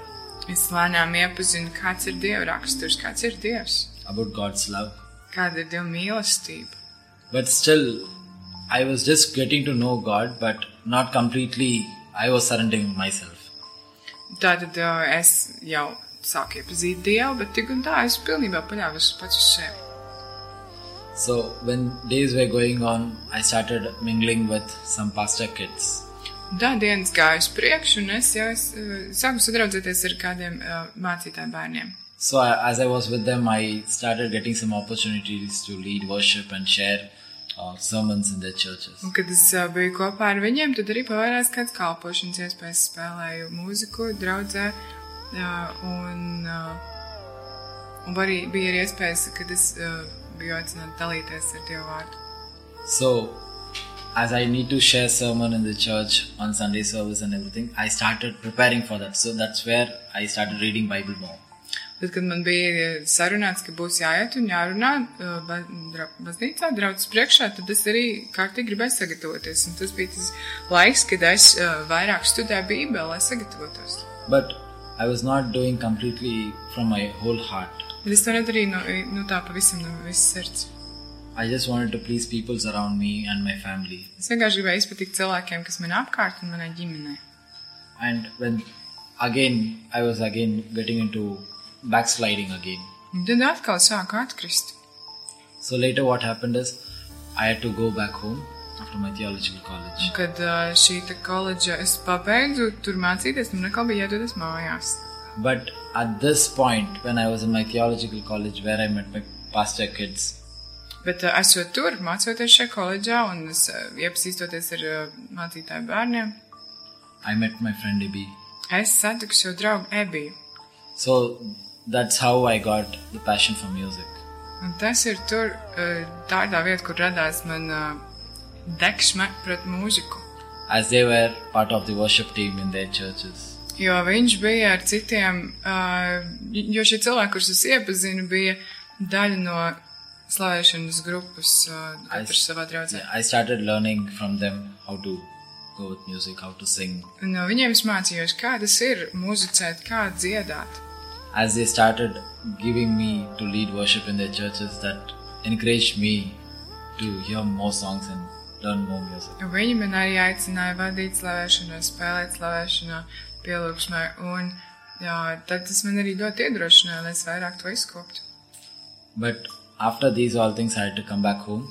[SPEAKER 2] Es lēnām iepazinu, kāds ir Dieva raksturs, kāds ir Dievs,
[SPEAKER 5] about God's love.
[SPEAKER 2] kāda ir Dieva mīlestība.
[SPEAKER 5] But still, I was just getting to know God, but not completely. I was surrendering myself.
[SPEAKER 2] Tātad uh, es jau sāku iepazīt Dievu, bet tik un tā es pilnībā paļāvos pats uz sevi.
[SPEAKER 5] So when days were going on, I started mingling with some pastor kids.
[SPEAKER 2] Un Tā dienas gāja uz priekšu, un es jau es, uh, sāku sadraudzēties ar kādiem uh, mācītāju bērniem.
[SPEAKER 5] So I, as I was with them, I started getting some opportunities to lead worship and share uh, sermons in their churches.
[SPEAKER 2] Un, kad es ā, biju kopā ar viņiem, tad arī pavērās kāds kalpošanas iespējas, spēlēju mūziku, draudzē. ā, Un, ā, un arī bija arī iespējas, kad es ā, biju aicināta dalīties ar Dievu vārdu.
[SPEAKER 5] So as I need to share sermon in the church on Sunday service and everything, I started preparing for that. So that's where I started reading Bible more.
[SPEAKER 2] Tad, kad man bija eh, sarunāts, ka būs jāiet un jārunā ā, ba- dra- baznīcā, draudzes priekšā, tad es arī kārtīgi gribēju sagatavoties. Un tas bija tas laiks, kad es ā, vairāk studēju Bībeli, lai sagatavotos.
[SPEAKER 5] But I was not doing completely from my whole heart.
[SPEAKER 2] Bet es to nedarīju no, no tā pavisam no visas sirds.
[SPEAKER 5] I just wanted to please people around me and my family.
[SPEAKER 2] Es vienkārši gribēju izpatikt cilvēkiem, kas man apkārt un manai ģimenei.
[SPEAKER 5] And when again I was again getting into backsliding again.
[SPEAKER 2] Un tad atkal sāku atkrist.
[SPEAKER 5] So later, what happened is I had to go back home after my theological college.
[SPEAKER 2] Kad ā, šī te koledža es pabeidzu, tur mācīties, man atkal bija jādodas mājās.
[SPEAKER 5] But at this point, when I was in my theological college where I met my pastor kids,
[SPEAKER 2] Bet ā, esot tur, mācoties šajā koledžā un es, ā, iepazīstoties ar ā, mācītāju bērniem,
[SPEAKER 5] I met my friend Ibi.
[SPEAKER 2] es satiku savu draugu Ebiju.
[SPEAKER 5] So that's how I got the passion for music.
[SPEAKER 2] Un tas ir tur, ā, tā ir tā vieta, kur radās man ā, deksme pret mūziku.
[SPEAKER 5] As they were part of the worship team in their churches.
[SPEAKER 2] Jo viņš bija ar citiem, ā, jo šie cilvēki, kurus es iepazinu, bija daļa no slavēšanas grupas, ā, katrs savā draudzē.
[SPEAKER 5] Yeah, I started learning from them how to go with music, how to sing.
[SPEAKER 2] Un No viņiem es mācījos, kā tas ir muzicēt, kā dziedāt.
[SPEAKER 5] As they started giving me to lead worship in their churches, that encouraged me to hear more songs and learn more music.
[SPEAKER 2] Un Viņi man arī aicināja vadīt slavēšanā, spēlēt slavēšanā, pielūgšanā, un jā, tad tas man arī ļoti iedrošināja, lai es vairāk to izkoptu.
[SPEAKER 5] But after these all things, I had to come back home.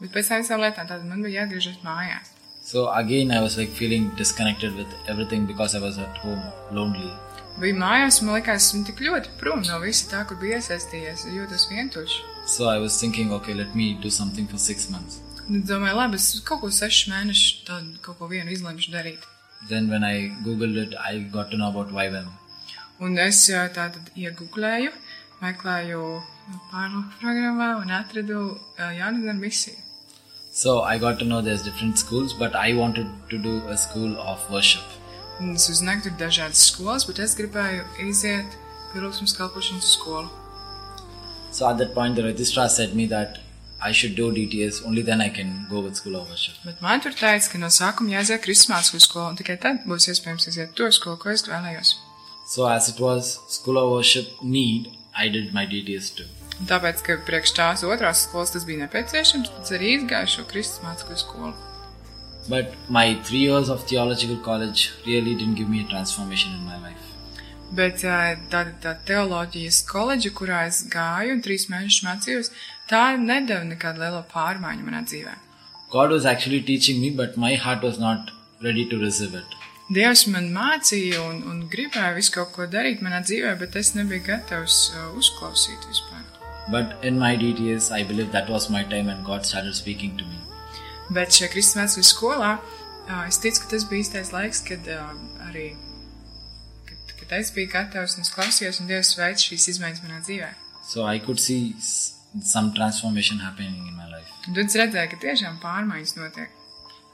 [SPEAKER 2] Bet pēc tam visām lietām tāda man bija jāatgriežas mājās.
[SPEAKER 5] So again, I was like feeling disconnected with everything because I was at home, lonely.
[SPEAKER 2] Bija mājās, un man liekas, esmu tik ļoti prom no visa tā, kur bija iesaistījies. Jūtos vientuļš.
[SPEAKER 5] So I was thinking, okay, let me do something for six months.
[SPEAKER 2] Un es Nu, domāju, labi, es kaut ko sešu mēnešu tādu kaut ko vienu izlemšu darīt.
[SPEAKER 5] Then when I googled it, I got to know about YWAM.
[SPEAKER 2] Un es ā, tātad iegūlēju, meklēju nu, pārlūku programmā un atradu ā, Jānis Misiju.
[SPEAKER 5] So I got to know there's different schools, but I wanted to do a school of worship.
[SPEAKER 2] Un Es uzzināju, ka tur ir dažādas skolas, bet es gribēju iziet pirms kalpošanas skolu.
[SPEAKER 5] So at that point, the registrar said me that I should do DTS. Only then I can go with school of worship.
[SPEAKER 2] Bet man tur teica, ka no sākuma jāiziet kristālisku skolu, un tikai tad būs iespējams iziet to skolu, ko es vēlējos.
[SPEAKER 5] So as it was school of worship need, I did my DTS too.
[SPEAKER 2] Un tāpēc, ka priekš tās otrās skolas tas bija nepieciešams, tad es arī izgāju šo kristālisku skolu.
[SPEAKER 5] But my three years of theological college really didn't give me a transformation in my life.
[SPEAKER 2] Bet ā, tāda tā teoloģijas koledža, kurā es gāju un trīs mēnešus mācījos, tā nedēļa nekādu lielu pārmaiņu manā dzīvē.
[SPEAKER 5] God was actually teaching me, but my heart was not ready to receive it.
[SPEAKER 2] Dievs man mācīja un, un gribēja visu kaut ko darīt manā dzīvē, bet es nebiju gatavs ā, uzklausīt vispār.
[SPEAKER 5] But in my DTS, I believe that was my time and God started speaking to me.
[SPEAKER 2] Bet šajā kristālā skolā ā, es ticu, ka tas bija īstais laiks, kad ā, arī kad, kad es biju gatavs un es klausījos, un Dievs veids šīs izmaiņas manā dzīvē.
[SPEAKER 5] So I could see s- some transformation happening in my life.
[SPEAKER 2] Un tad es redzēju, ka tiešām pārmaiņas notiek.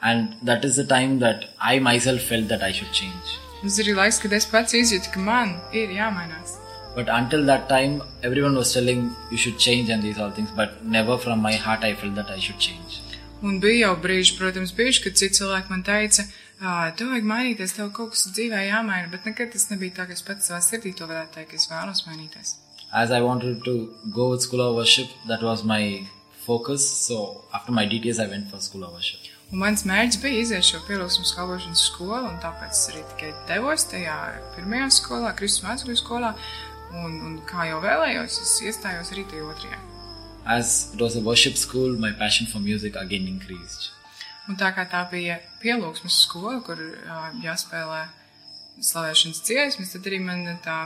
[SPEAKER 5] And that is the time that I myself felt that I should change.
[SPEAKER 2] Un Tas arī laiks, kad es pats izjūtu, ka man ir jāmainās.
[SPEAKER 5] But until that time, everyone was telling you should change and these all things, but never from my heart I felt that I should change.
[SPEAKER 2] Un bija jau brīži, protams, bijuši, kad citi cilvēki man teica, "Ā, tev vajag mainīties, tev kaut kas dzīvē jāmaina, bet nekad tas nebija tā, ka es pats savā sirdī to varētu teikt, ka es vēlos mainīties.
[SPEAKER 5] As I wanted to go with School of Worship, that was my focus. So after my DTS, I went for School of Worship.
[SPEAKER 2] Un mans mērķis bija iziet šo pielūgsmas kalpošanas skolu, un tāpēc es arī tikai devos tajā pirmajā skolā, Kristus mācību skolā, un, un kā jau vēlējos, es iestājos arī tajā otrajā.
[SPEAKER 5] As it was a worship school, my passion for music again increased.
[SPEAKER 2] Un tā kā tā bija pielūgsmas skola, kur ā, jāspēlē slavēšanas dziesmas, tad arī man tā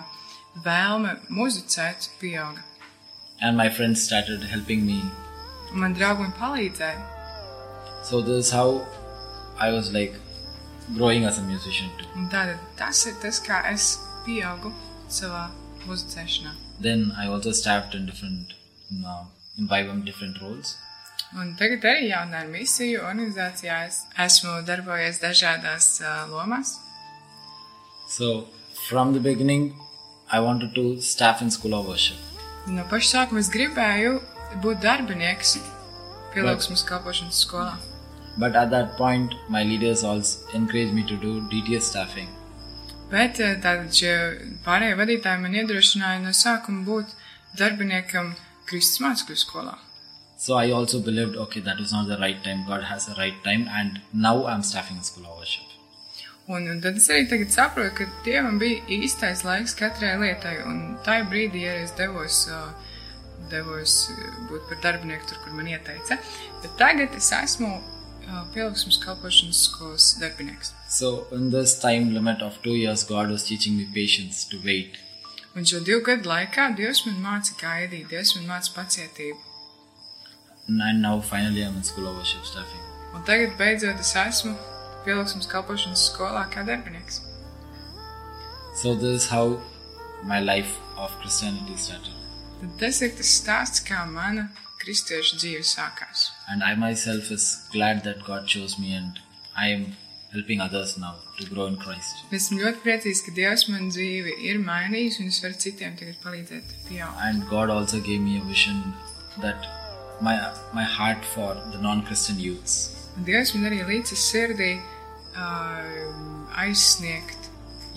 [SPEAKER 2] vēlme muzicēt pieauga.
[SPEAKER 5] And my friends started helping me.
[SPEAKER 2] Un Man draugi man palīdzēja,
[SPEAKER 5] So this is how I was like growing as a musician too.
[SPEAKER 2] un tātad tas ir tas, kā es pieaugu savā muzicēšanā.
[SPEAKER 5] Then I also started in different, you know, in Vibram different roles.
[SPEAKER 2] Un tagad arī jaunā misiju organizācijā es esmu darbojies dažādās uh, lomās.
[SPEAKER 5] So from the beginning, I wanted to staff in School of Worship.
[SPEAKER 2] No paša sākuma es gribēju būt darbinieks pielūgsmas kalpošanas skolā.
[SPEAKER 5] But at that point, my leaders also encouraged me to do DTS staffing.
[SPEAKER 2] Bet ā, tātad šie pārējie vadītāji man iedrošināja no sākuma būt darbiniekam Kristus mācekļu skolā.
[SPEAKER 5] So I also believed, okay, that was not the right time. God has a right time, and now I'm staffing in School of Worship.
[SPEAKER 2] Un, un tad es arī tagad saprotu, ka dievam bija īstais laiks katrai lietai. Un tajā brīdī arī es devos, ā, devos ā, būt par darbinieku tur, kur man ieteica. Bet tagad es esmu pielāgsmas kalpošanas skolas darbinieks.
[SPEAKER 5] So in this time limit of two years, God was teaching me patience to wait.
[SPEAKER 2] Un šo divu gadu laikā Dievs man māca gaidīt, Dievs man māca pacietību.
[SPEAKER 5] And now finally, I'm in School of Worship staffing.
[SPEAKER 2] Un tagad beidzot es esmu pielāgsmas kalpošanas skolā kā darbinieks.
[SPEAKER 5] So this is how my life of Christianity started.
[SPEAKER 2] Tad tas ir tas stāsts, kā mana kristiešu dzīve sākās.
[SPEAKER 5] And I myself is glad that God chose me, and I am helping others now to grow in Christ.
[SPEAKER 2] Esmu ļoti priecīgs, ka Dievs man dzīvi ir mainījis, un es varu citiem tagad palīdzēt. pieaugt.
[SPEAKER 5] And God also gave me a vision that my my heart for the non-Christian youths.
[SPEAKER 2] Un Dievs man arī līdzi sirdī uh, aizsniegt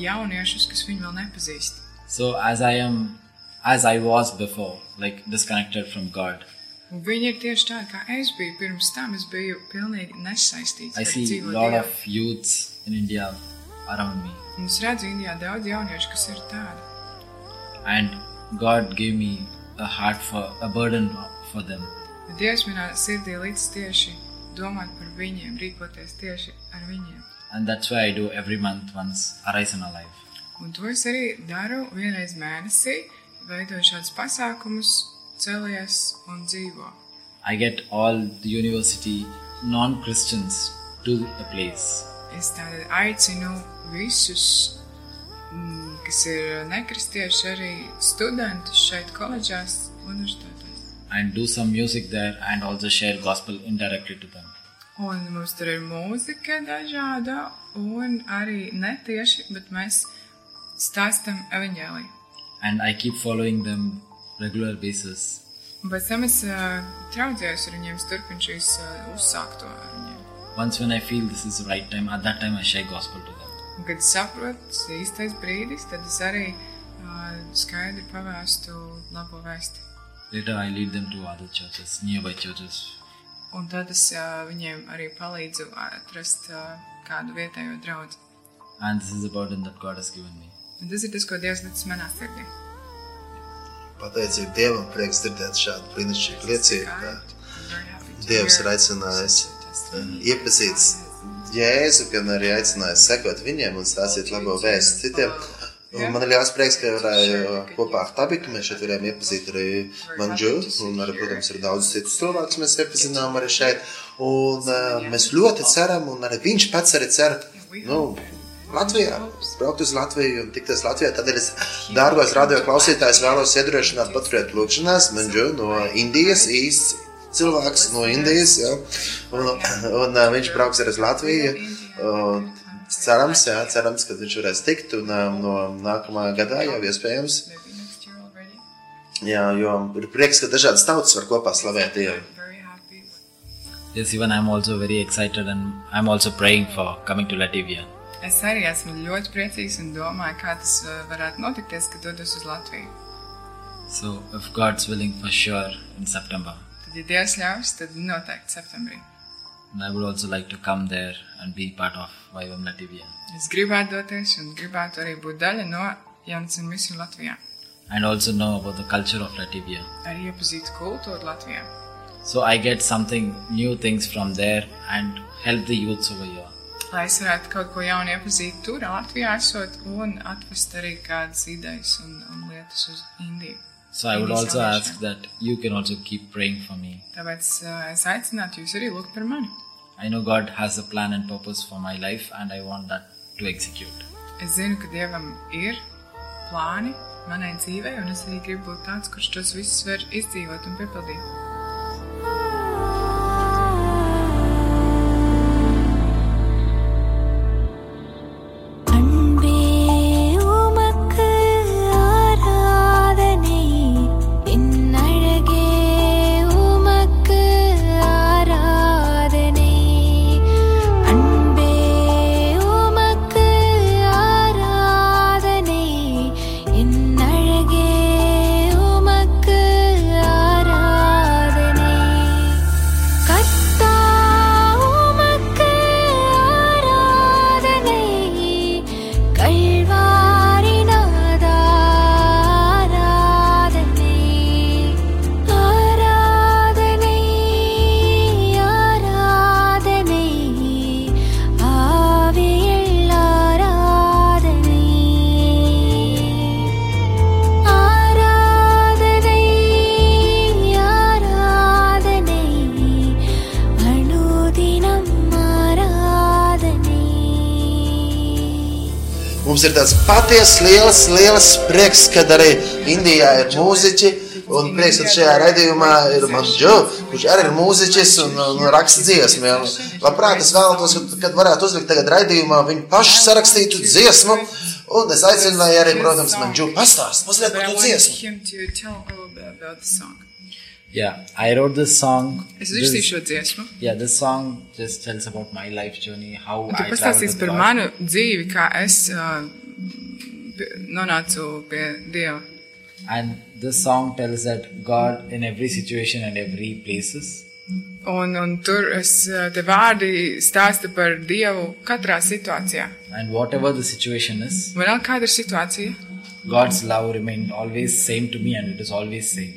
[SPEAKER 2] jauniešus, kas viņu vēl nepazīst.
[SPEAKER 5] So as I am, as I was before, like disconnected from God,
[SPEAKER 2] Un viņi ir tieši tādi, kā es biju pirms tam. Es biju pilnīgi nesaistīts ar
[SPEAKER 5] I see a
[SPEAKER 2] dzīvo
[SPEAKER 5] lot
[SPEAKER 2] Dievu.
[SPEAKER 5] of youths in India around me,
[SPEAKER 2] Un es redzu Indijā daudz jauniešu, kas ir tādi.
[SPEAKER 5] and God gave me a heart for a burden for them.
[SPEAKER 2] Bet Dievs manā sirdī līdz tieši domāt par viņiem, rīkoties tieši ar viņiem.
[SPEAKER 5] And that's why I do every month once Arise and Alive.
[SPEAKER 2] Un to es arī daru vienreiz mēnesī, veidojot šādus pasākumus, celies un dzīvo.
[SPEAKER 5] I get all the university non Christians to the place.
[SPEAKER 2] Es tātad aicinu visus, mm, kas ir nekristieši, arī studentus šeit, koledžās, universitātēs.
[SPEAKER 5] and do some music there and also share gospel indirectly to them.
[SPEAKER 2] Un mums tur ir mūzika dažāda, un arī netieši, bet mēs stāstam evaņģēliju.
[SPEAKER 5] And I keep following them regular basis.
[SPEAKER 2] Pēc tam es uh, traudzējos ar viņiem, turpinu šīs uh, uzsākto ar viņiem.
[SPEAKER 5] Once when I feel this is the right time, at that time I share gospel to them.
[SPEAKER 2] Un, kad saprotu, tas ir īstais brīdis, tad es arī uh, skaidri pavēstu labo vēsti.
[SPEAKER 5] Later I lead them to other churches, nearby churches.
[SPEAKER 2] Un tad es uh, viņiem arī palīdzu atrast uh, kādu vietējo draugu.
[SPEAKER 5] And this is the burden that God has given me.
[SPEAKER 2] Un Tas ir tas, ko Dievs licis manā sirdī.
[SPEAKER 1] Pa Pateicība Dievam, prieks dzirdēt šādu brīnišķīgu liecību. ka Dievs
[SPEAKER 2] Dievs
[SPEAKER 1] ir aicinājis iepazīt Jēzu, gan arī aicinājis sekot viņiem un stāstīt labo vēstu citiem. Un man ir liels prieks, ka varēju kopā ar Tabiku mēs šeit varējām iepazīt arī Manžu, un arī, protams, ir daudz citus cilvēkus mēs iepazinām arī šeit. Un eh, mēs ļoti ceram, un arī viņš pats arī cer, nu, Latvijā, braukt uz Latviju un tikties Latvijā. Tādēļ es, dārgais radio klausītājs, vēlos iedrošināt paturēt lūkšanās, Manžu no Indijas, īsts cilvēks no Indijas, jā. Un, un eh, viņš brauks arī uz Latviju. Un Uh, cerams, jā, cerams, ka viņš varēs tikt un eh, no nākamā gadā jau iespējams.
[SPEAKER 2] Maybe next year already.
[SPEAKER 1] Jā, jo ir prieks, ka dažādas tautas var kopā slavēt Dievu.
[SPEAKER 2] Very happy.
[SPEAKER 5] Yes, even I'm also very excited and I'm also praying for coming to Latvia.
[SPEAKER 2] Es arī esmu ļoti priecīgs un domāju, kā tas eh, varētu notikties, kad dodos uz Latviju.
[SPEAKER 5] So, if God's willing, for sure in September.
[SPEAKER 2] Tad, ja Dievs ļaus, tad noteikti septembrī.
[SPEAKER 5] And I would also like to come there and be part of YWAM Latvia.
[SPEAKER 2] Es gribētu doties un gribētu arī būt daļa no jaunas misiju Latvijā.
[SPEAKER 5] And also know about the culture of Latvia.
[SPEAKER 2] Arī iepazīt kultūru Latvijā.
[SPEAKER 5] So I get something new things from there and help the youths over here.
[SPEAKER 2] Lai es varētu kaut ko jaunu iepazīt tur, Latvijā esot, un atvest arī kādas idejas un, un lietas uz Indiju.
[SPEAKER 5] So I would also ask that you can also keep praying for me.
[SPEAKER 2] Tāpēc eh, es aicinātu jūs arī lūgt par mani.
[SPEAKER 5] I know God has a plan and purpose for my life and I want that to execute.
[SPEAKER 2] Es zinu, ka Dievam ir plāni manai dzīvei, un es arī gribu būt tāds, kurš tos visus var izdzīvot un piepildīt.
[SPEAKER 6] அன்பே உமக்கு ஆராதனை என் அழகே உமக்கு ஆராதனை அன்பே உமக்கு ஆராதனை என் அழகே உமக்கு ஆராதனை கர்த்தா உமக்கு ஆராதனை கல்வாரி நாதா ஆராதனை ஆராதனை ஆராதனை ஆவியில் ஆராதனை ஆராதனை ஆராதனை அனுதினம் ஆராதனை
[SPEAKER 1] Mums ir tāds patiesi liels, liels prieks, kad arī Indijā ir mūziķi. Un prieks, ka šajā raidījumā ir Manžo, kurš arī ir mūziķis un, un raksta dziesmu. Jā. Labprāt, es vēlētos, kad, kad varētu uzlikt tagad raidījumā viņu pašu sarakstītu dziesmu. Un es aicināju arī, protams, Manžo pastāstīt mazliet
[SPEAKER 2] But I
[SPEAKER 1] par to
[SPEAKER 2] want
[SPEAKER 1] dziesmu.
[SPEAKER 2] him to tell a little bit about the song.
[SPEAKER 5] Yeah, I wrote this song.
[SPEAKER 2] Es
[SPEAKER 5] This-
[SPEAKER 2] uzrakstīju šo dziesmu.
[SPEAKER 5] yeah, this song just tells about my life journey, how
[SPEAKER 2] Un tu
[SPEAKER 5] I
[SPEAKER 2] pastāstīsi
[SPEAKER 5] traveled
[SPEAKER 2] par
[SPEAKER 5] with God.
[SPEAKER 2] manu dzīvi, kā es uh, pie- nonācu pie Dieva.
[SPEAKER 5] And this song tells that God in every situation and every places
[SPEAKER 2] Un, un tur es uh, te vārdi stāstu par Dievu katrā situācijā.
[SPEAKER 5] and whatever the situation is,
[SPEAKER 2] Man vēl kāda ir situācija,
[SPEAKER 5] God's love remained always same to me and it is always same.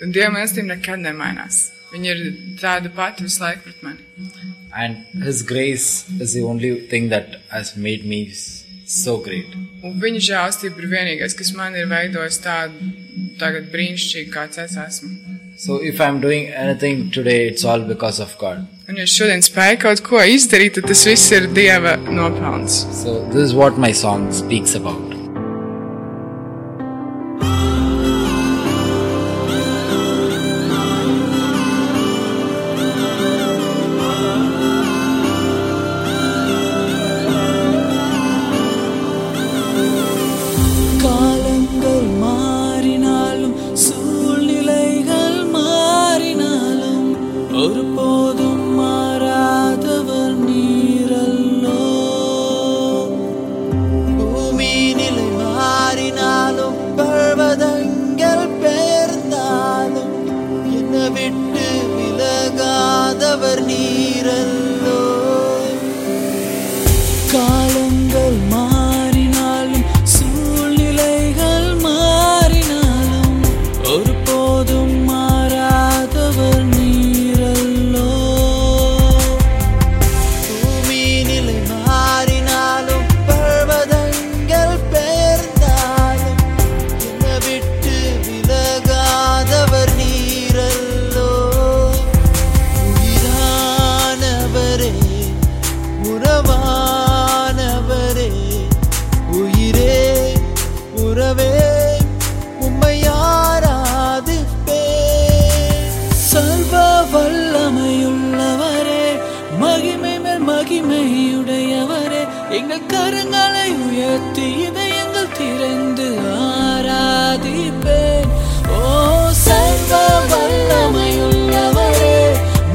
[SPEAKER 2] un Dieva mīlestība nekad nemainās. Viņa ir tāda pati visu laiku pret mani.
[SPEAKER 5] And His grace is the only thing that has made me s- so great.
[SPEAKER 2] Un viņa žēlstība ir vienīgais, kas man ir veidojis tādu tagad brīnišķīgu, kāds es esmu.
[SPEAKER 5] So if I'm doing anything today, it's all because of God.
[SPEAKER 2] Un ja es šodien spēju kaut ko izdarīt, tad tas viss ir Dieva nopelns.
[SPEAKER 5] So this is what my song speaks about.
[SPEAKER 7] காலங்கள் மாறினாலும் சூழ்நிலைகள் மாறினாலும் ஒருபோதும் மாறாதவர் நீரல்லோ பூமி நிலை மாறினாலும் பர்வதங்கள் பெயர்ந்தாலும் என்னை விட்டு விலகாதவர் நீரல்லோ காலங்கள் மாறினாலும் சூழ்நிலைகள் மாறினாலும் ஒருபோதும் மாறாதவர் நீரல்லோ பூமி நிலை மாறினாலும் பர்வதங்கள் பெயர்ந்தாலும் என்னை விட்டு விலகாதவர் நீரல்லோ உயிரானவரே உறவானவரே உயிரே உறவே உம்மை யாராது சர்வ வல்லமையுள்ளவரே மகிமை மேல் மகிமையுடையவரே எங்கள் கரங்களை உயர்த்தி இதயங்கள் திறந்து ஆராதிப்பேன் ஓ சர்வ வல்லமையுள்ளவரே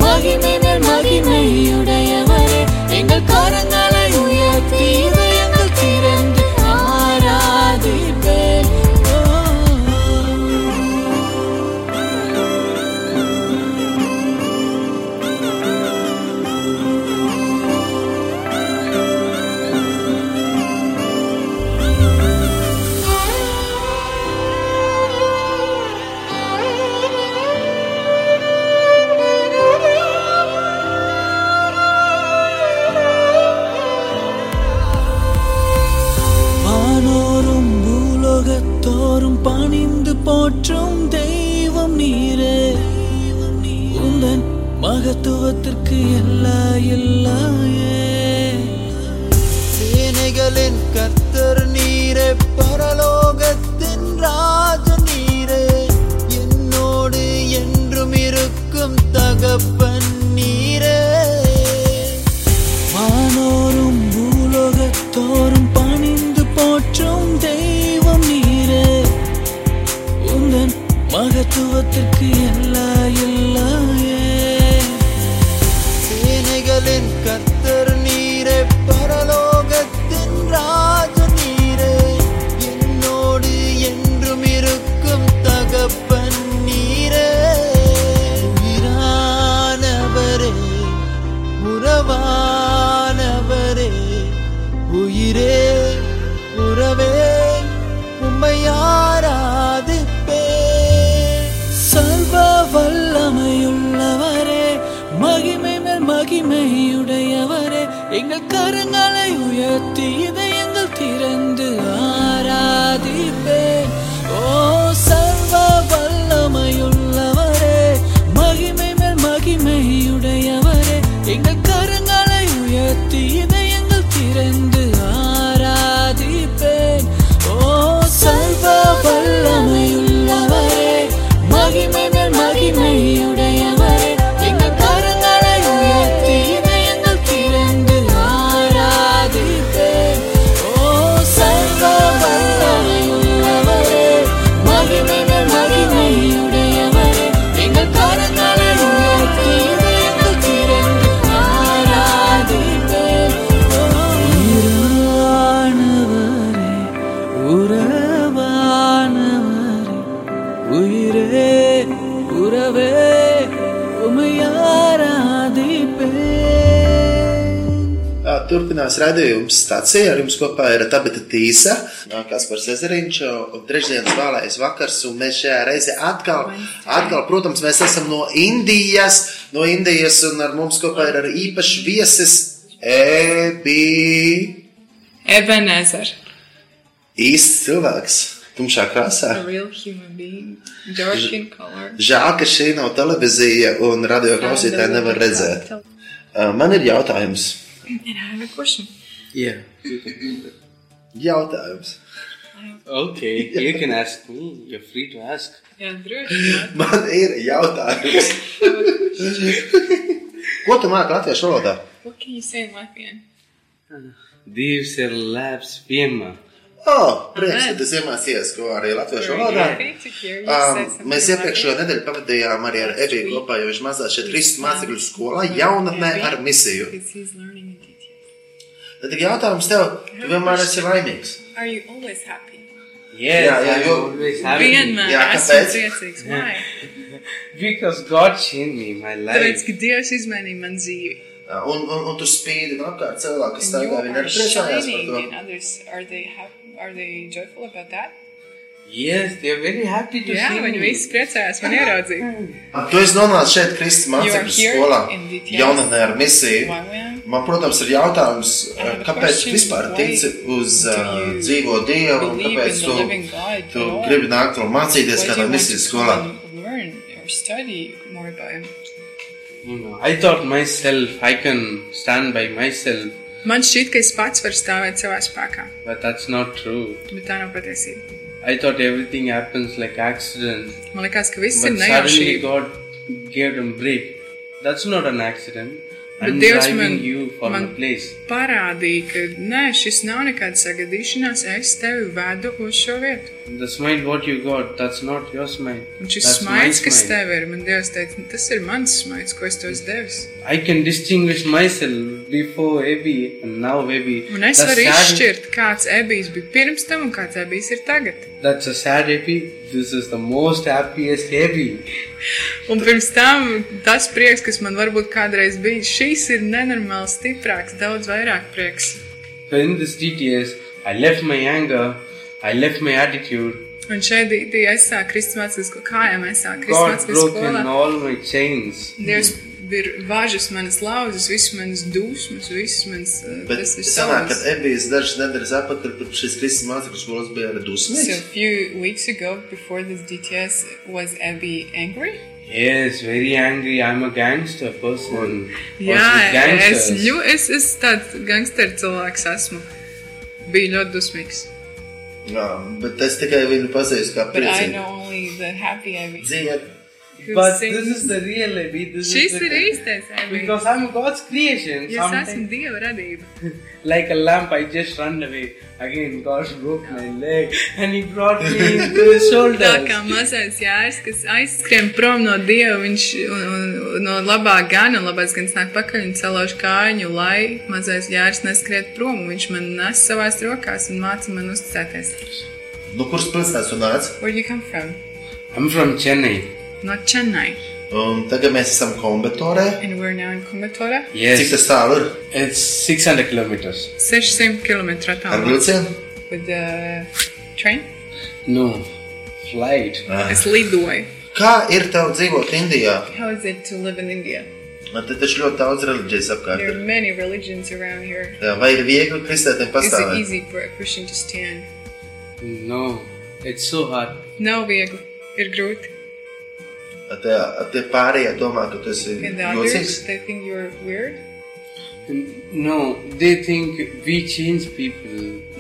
[SPEAKER 7] மகிமை மேல் மகிமையுடையவரே எங்கள் கரங்களை உயர்த்தி இதயங்கள் திறந்து ஆராதிப்பேன் ஓ வானோரும் பூலோகத்தோறும் பணிந்து போற்றும் தெய்வம் நீரே உந்தன் மகத்துவத்திற்கு எல்லா எல்லாயே சேனைகளின் கர்த்தர் நீரே பரலோகத்தின் ராஜ நீரே என்னோடு என்றும் இருக்கும் தகப்பன் நீரே வானோரும் பூலோகத்தோறும் பணிந்து போற்றும் தெய்வம் நீரே உந்தன் மகத்துவத்திற்கு எல்லா எல்லாயே சேனைகளின் கர்த்தர் நீரே பரலோகத்தின் ராஜ
[SPEAKER 1] Turpinās raidījums stācija. Ar jums kopā ir Tabita Tīsa, Kaspars Ezeriņš un trešdienas vēlējais vakars. Un mēs šajā reizē atkal, atkal, protams, mēs esam no Indijas, no Indijas un ar mums kopā ir arī īpašs viesis Ebi.
[SPEAKER 2] Ebenezer.
[SPEAKER 1] Īsts cilvēks, tumšā krāsā.
[SPEAKER 2] A real human being. Dark in color.
[SPEAKER 1] Žēl, ka šī nav televīzija un radio klausītāji nevar redzēt. Uh, Man ir jautājums.
[SPEAKER 2] And I have a question.
[SPEAKER 8] Yeah.
[SPEAKER 1] Jautājums.
[SPEAKER 8] Okay, you can ask me. You're free to ask.
[SPEAKER 2] Jā, droši.
[SPEAKER 1] Man ir jautājums. Ko tu māki latviešu valodā?
[SPEAKER 2] What can you say in Latvian?
[SPEAKER 8] Dievs ir labs vienmēr.
[SPEAKER 1] O, prieks, ka tu iemācījies, ko arī latviešu valodā. Um, mēs iepriekšējā nedēļā pavadījām arī ar Eviju kopā, jo viņš mācās šeit Kristus mācekļu skolā jaunatnē ar misiju. Tad ir jautājums tev, tu vienmēr esi laimīgs.
[SPEAKER 2] Are you always happy?
[SPEAKER 8] Yes,
[SPEAKER 1] Yeah, yeah,
[SPEAKER 8] I'm
[SPEAKER 1] you-
[SPEAKER 8] always happy.
[SPEAKER 2] Vienmēr
[SPEAKER 1] Jā,
[SPEAKER 2] esmu
[SPEAKER 1] kāpēc?
[SPEAKER 2] priecīgs. Why?
[SPEAKER 8] Because God changed me, my
[SPEAKER 2] Tāpēc,
[SPEAKER 8] life.
[SPEAKER 2] ka Dievs izmainīja man dzīvi.
[SPEAKER 1] Uh, Un, un, un tu spīdi no apkārt cilvēku, kas
[SPEAKER 2] And you
[SPEAKER 1] staigā, viņi
[SPEAKER 2] are
[SPEAKER 1] arī priecājās par
[SPEAKER 2] shining
[SPEAKER 1] to.
[SPEAKER 2] and others, are they happy, are they joyful about that? mm.
[SPEAKER 8] Yes, they're very happy to
[SPEAKER 2] Jā,
[SPEAKER 8] see
[SPEAKER 2] viņi
[SPEAKER 8] me.
[SPEAKER 2] visi priecājās man ieraudzīt.
[SPEAKER 1] Tu esi nonācis šeit Kristus mācekļu
[SPEAKER 2] You are here
[SPEAKER 1] skolā,
[SPEAKER 2] in details.
[SPEAKER 1] jaunatnē ar misiju.
[SPEAKER 2] Why we
[SPEAKER 1] Man, protams, ir jautājums, eh,
[SPEAKER 2] have a
[SPEAKER 1] kāpēc tu
[SPEAKER 2] question.
[SPEAKER 1] vispār
[SPEAKER 2] Why
[SPEAKER 1] tici uz
[SPEAKER 2] do
[SPEAKER 1] uh,
[SPEAKER 2] you
[SPEAKER 1] dzīvo Dievu un
[SPEAKER 2] believe in
[SPEAKER 1] kāpēc
[SPEAKER 2] the
[SPEAKER 1] tu,
[SPEAKER 2] living God?
[SPEAKER 1] tu
[SPEAKER 2] Lord?
[SPEAKER 1] gribi nākt un mācīties
[SPEAKER 2] Why do
[SPEAKER 1] kādā
[SPEAKER 2] you want
[SPEAKER 1] misijas
[SPEAKER 2] to
[SPEAKER 1] skolā?
[SPEAKER 2] come and learn or study more about him?
[SPEAKER 8] You know, I thought myself I can stand by myself,
[SPEAKER 2] Man šķiet, ka es pats varu stāvēt savā spēkā,
[SPEAKER 8] but that's not true.
[SPEAKER 2] bet tā nav patiesība.
[SPEAKER 8] I thought everything happens like accident,
[SPEAKER 2] Man liekas, ka viss ir
[SPEAKER 8] but suddenly
[SPEAKER 2] nejaušība.
[SPEAKER 8] God gave them break. That's not an accident.
[SPEAKER 2] But
[SPEAKER 8] I'm
[SPEAKER 2] Dievs
[SPEAKER 8] driving
[SPEAKER 2] man-
[SPEAKER 8] you from
[SPEAKER 2] man-
[SPEAKER 8] a place.
[SPEAKER 2] Parādīja, ka nē, šis nav nekāds sagadīšanās, es tevi vedu uz šo vietu.
[SPEAKER 8] The smile what you got, that's not your smile.
[SPEAKER 2] Un šis
[SPEAKER 8] That's my
[SPEAKER 2] smaids, kas
[SPEAKER 8] smile.
[SPEAKER 2] tev ir, man Dievs teica, "Nu, tas ir mans smaids, ko es tev esmu devis.
[SPEAKER 8] I can distinguish myself before Abby and now Abby.
[SPEAKER 2] Un es
[SPEAKER 8] The
[SPEAKER 2] varu
[SPEAKER 8] sad-
[SPEAKER 2] izšķirt, kāds ebijs bija pirms tam un kāds ebijs ir tagad.
[SPEAKER 8] That's a sad Abby. This is the most happiest Abby.
[SPEAKER 2] Un pirms tam tas prieks, kas man varbūt kādreiz bija, šīs ir nenormāli stiprāks, daudz vairāk prieks.
[SPEAKER 8] So in this DTS, I left my anger, I left my attitude.
[SPEAKER 2] Un šeit bija aizsākt Kristusmācības skolā, kā jau mēs sākām
[SPEAKER 8] God
[SPEAKER 2] Kristusmācības
[SPEAKER 8] broke in
[SPEAKER 2] skolā.
[SPEAKER 8] all my chains.
[SPEAKER 2] Dievs ir važas manas lauzas, visas manas dusmas, visas manas. eh,
[SPEAKER 1] Bet
[SPEAKER 2] tas ir
[SPEAKER 1] sanāk,
[SPEAKER 2] savs.
[SPEAKER 1] kad Ebijas dažas nedēļas atpakaļ, pirms šīs Kristus mācekļu skolas bija arī
[SPEAKER 2] So a
[SPEAKER 1] dusmīgs.
[SPEAKER 2] few weeks ago, before this DTS, was Abby angry?
[SPEAKER 8] Yes, very angry. I'm a gangster person.
[SPEAKER 2] Jā,
[SPEAKER 8] Versus
[SPEAKER 2] es,
[SPEAKER 8] gangsters.
[SPEAKER 2] ļu, es, es tāds gangsteru cilvēks esmu. Biju ļoti dusmīgs.
[SPEAKER 1] Jā, bet es tikai viņu pazīstu kā
[SPEAKER 2] But I know
[SPEAKER 1] priecīgu.
[SPEAKER 2] only the happy Abby.
[SPEAKER 1] Dzied,
[SPEAKER 2] who
[SPEAKER 8] But
[SPEAKER 2] sings.
[SPEAKER 8] this is the real Abby. This
[SPEAKER 2] Šis
[SPEAKER 8] is
[SPEAKER 2] ir
[SPEAKER 8] the,
[SPEAKER 2] īstais Abby.
[SPEAKER 8] Because I'm God's creation.
[SPEAKER 2] Es esmu
[SPEAKER 8] Sometimes,
[SPEAKER 2] dieva radība.
[SPEAKER 8] like a lamp, I just run away. Again, God broke my leg and He brought me into His
[SPEAKER 2] Tā
[SPEAKER 8] shoulders.
[SPEAKER 2] kā mazais jērs, kas aizskrien prom no dieva, viņš un, un, no labā gana, labais gan nāk pakaļ un celauž kājiņu, lai mazais jērs neskriet prom. un Viņš man nes savās rokās un māca man uzticēties.
[SPEAKER 1] nu, kurš pilsētas tu nāc?
[SPEAKER 2] Where you come from?
[SPEAKER 8] I'm from Chennai.
[SPEAKER 2] No Chennai.
[SPEAKER 1] Un tagad mēs esam kombatorē.
[SPEAKER 2] And we're now in Kumatora.
[SPEAKER 1] Cik
[SPEAKER 8] Yes,
[SPEAKER 1] tas tālu ir?
[SPEAKER 8] it's 600 kilometers.
[SPEAKER 2] 600 km
[SPEAKER 1] Ar
[SPEAKER 2] attālumā.
[SPEAKER 1] vilcienu?
[SPEAKER 2] With the train?
[SPEAKER 8] No, flight.
[SPEAKER 2] Es lidoju.
[SPEAKER 1] Kā ir tev dzīvot Indijā?
[SPEAKER 2] How is it to live in India?
[SPEAKER 1] Man te taču ļoti daudz reliģijas apkārt.
[SPEAKER 2] There are
[SPEAKER 1] ir.
[SPEAKER 2] many religions around here.
[SPEAKER 1] Jā, Vai ir viegli kristētiem
[SPEAKER 2] Is it
[SPEAKER 1] pastāvēt?
[SPEAKER 2] easy for a Christian to stand?
[SPEAKER 8] No, it's so hard.
[SPEAKER 2] Nav viegli, ir grūti.
[SPEAKER 1] Tie, tie pārējie domā, ka tu esi
[SPEAKER 2] And the
[SPEAKER 1] jocīgs.
[SPEAKER 2] others, they think you're weird.
[SPEAKER 8] No, they think we change people.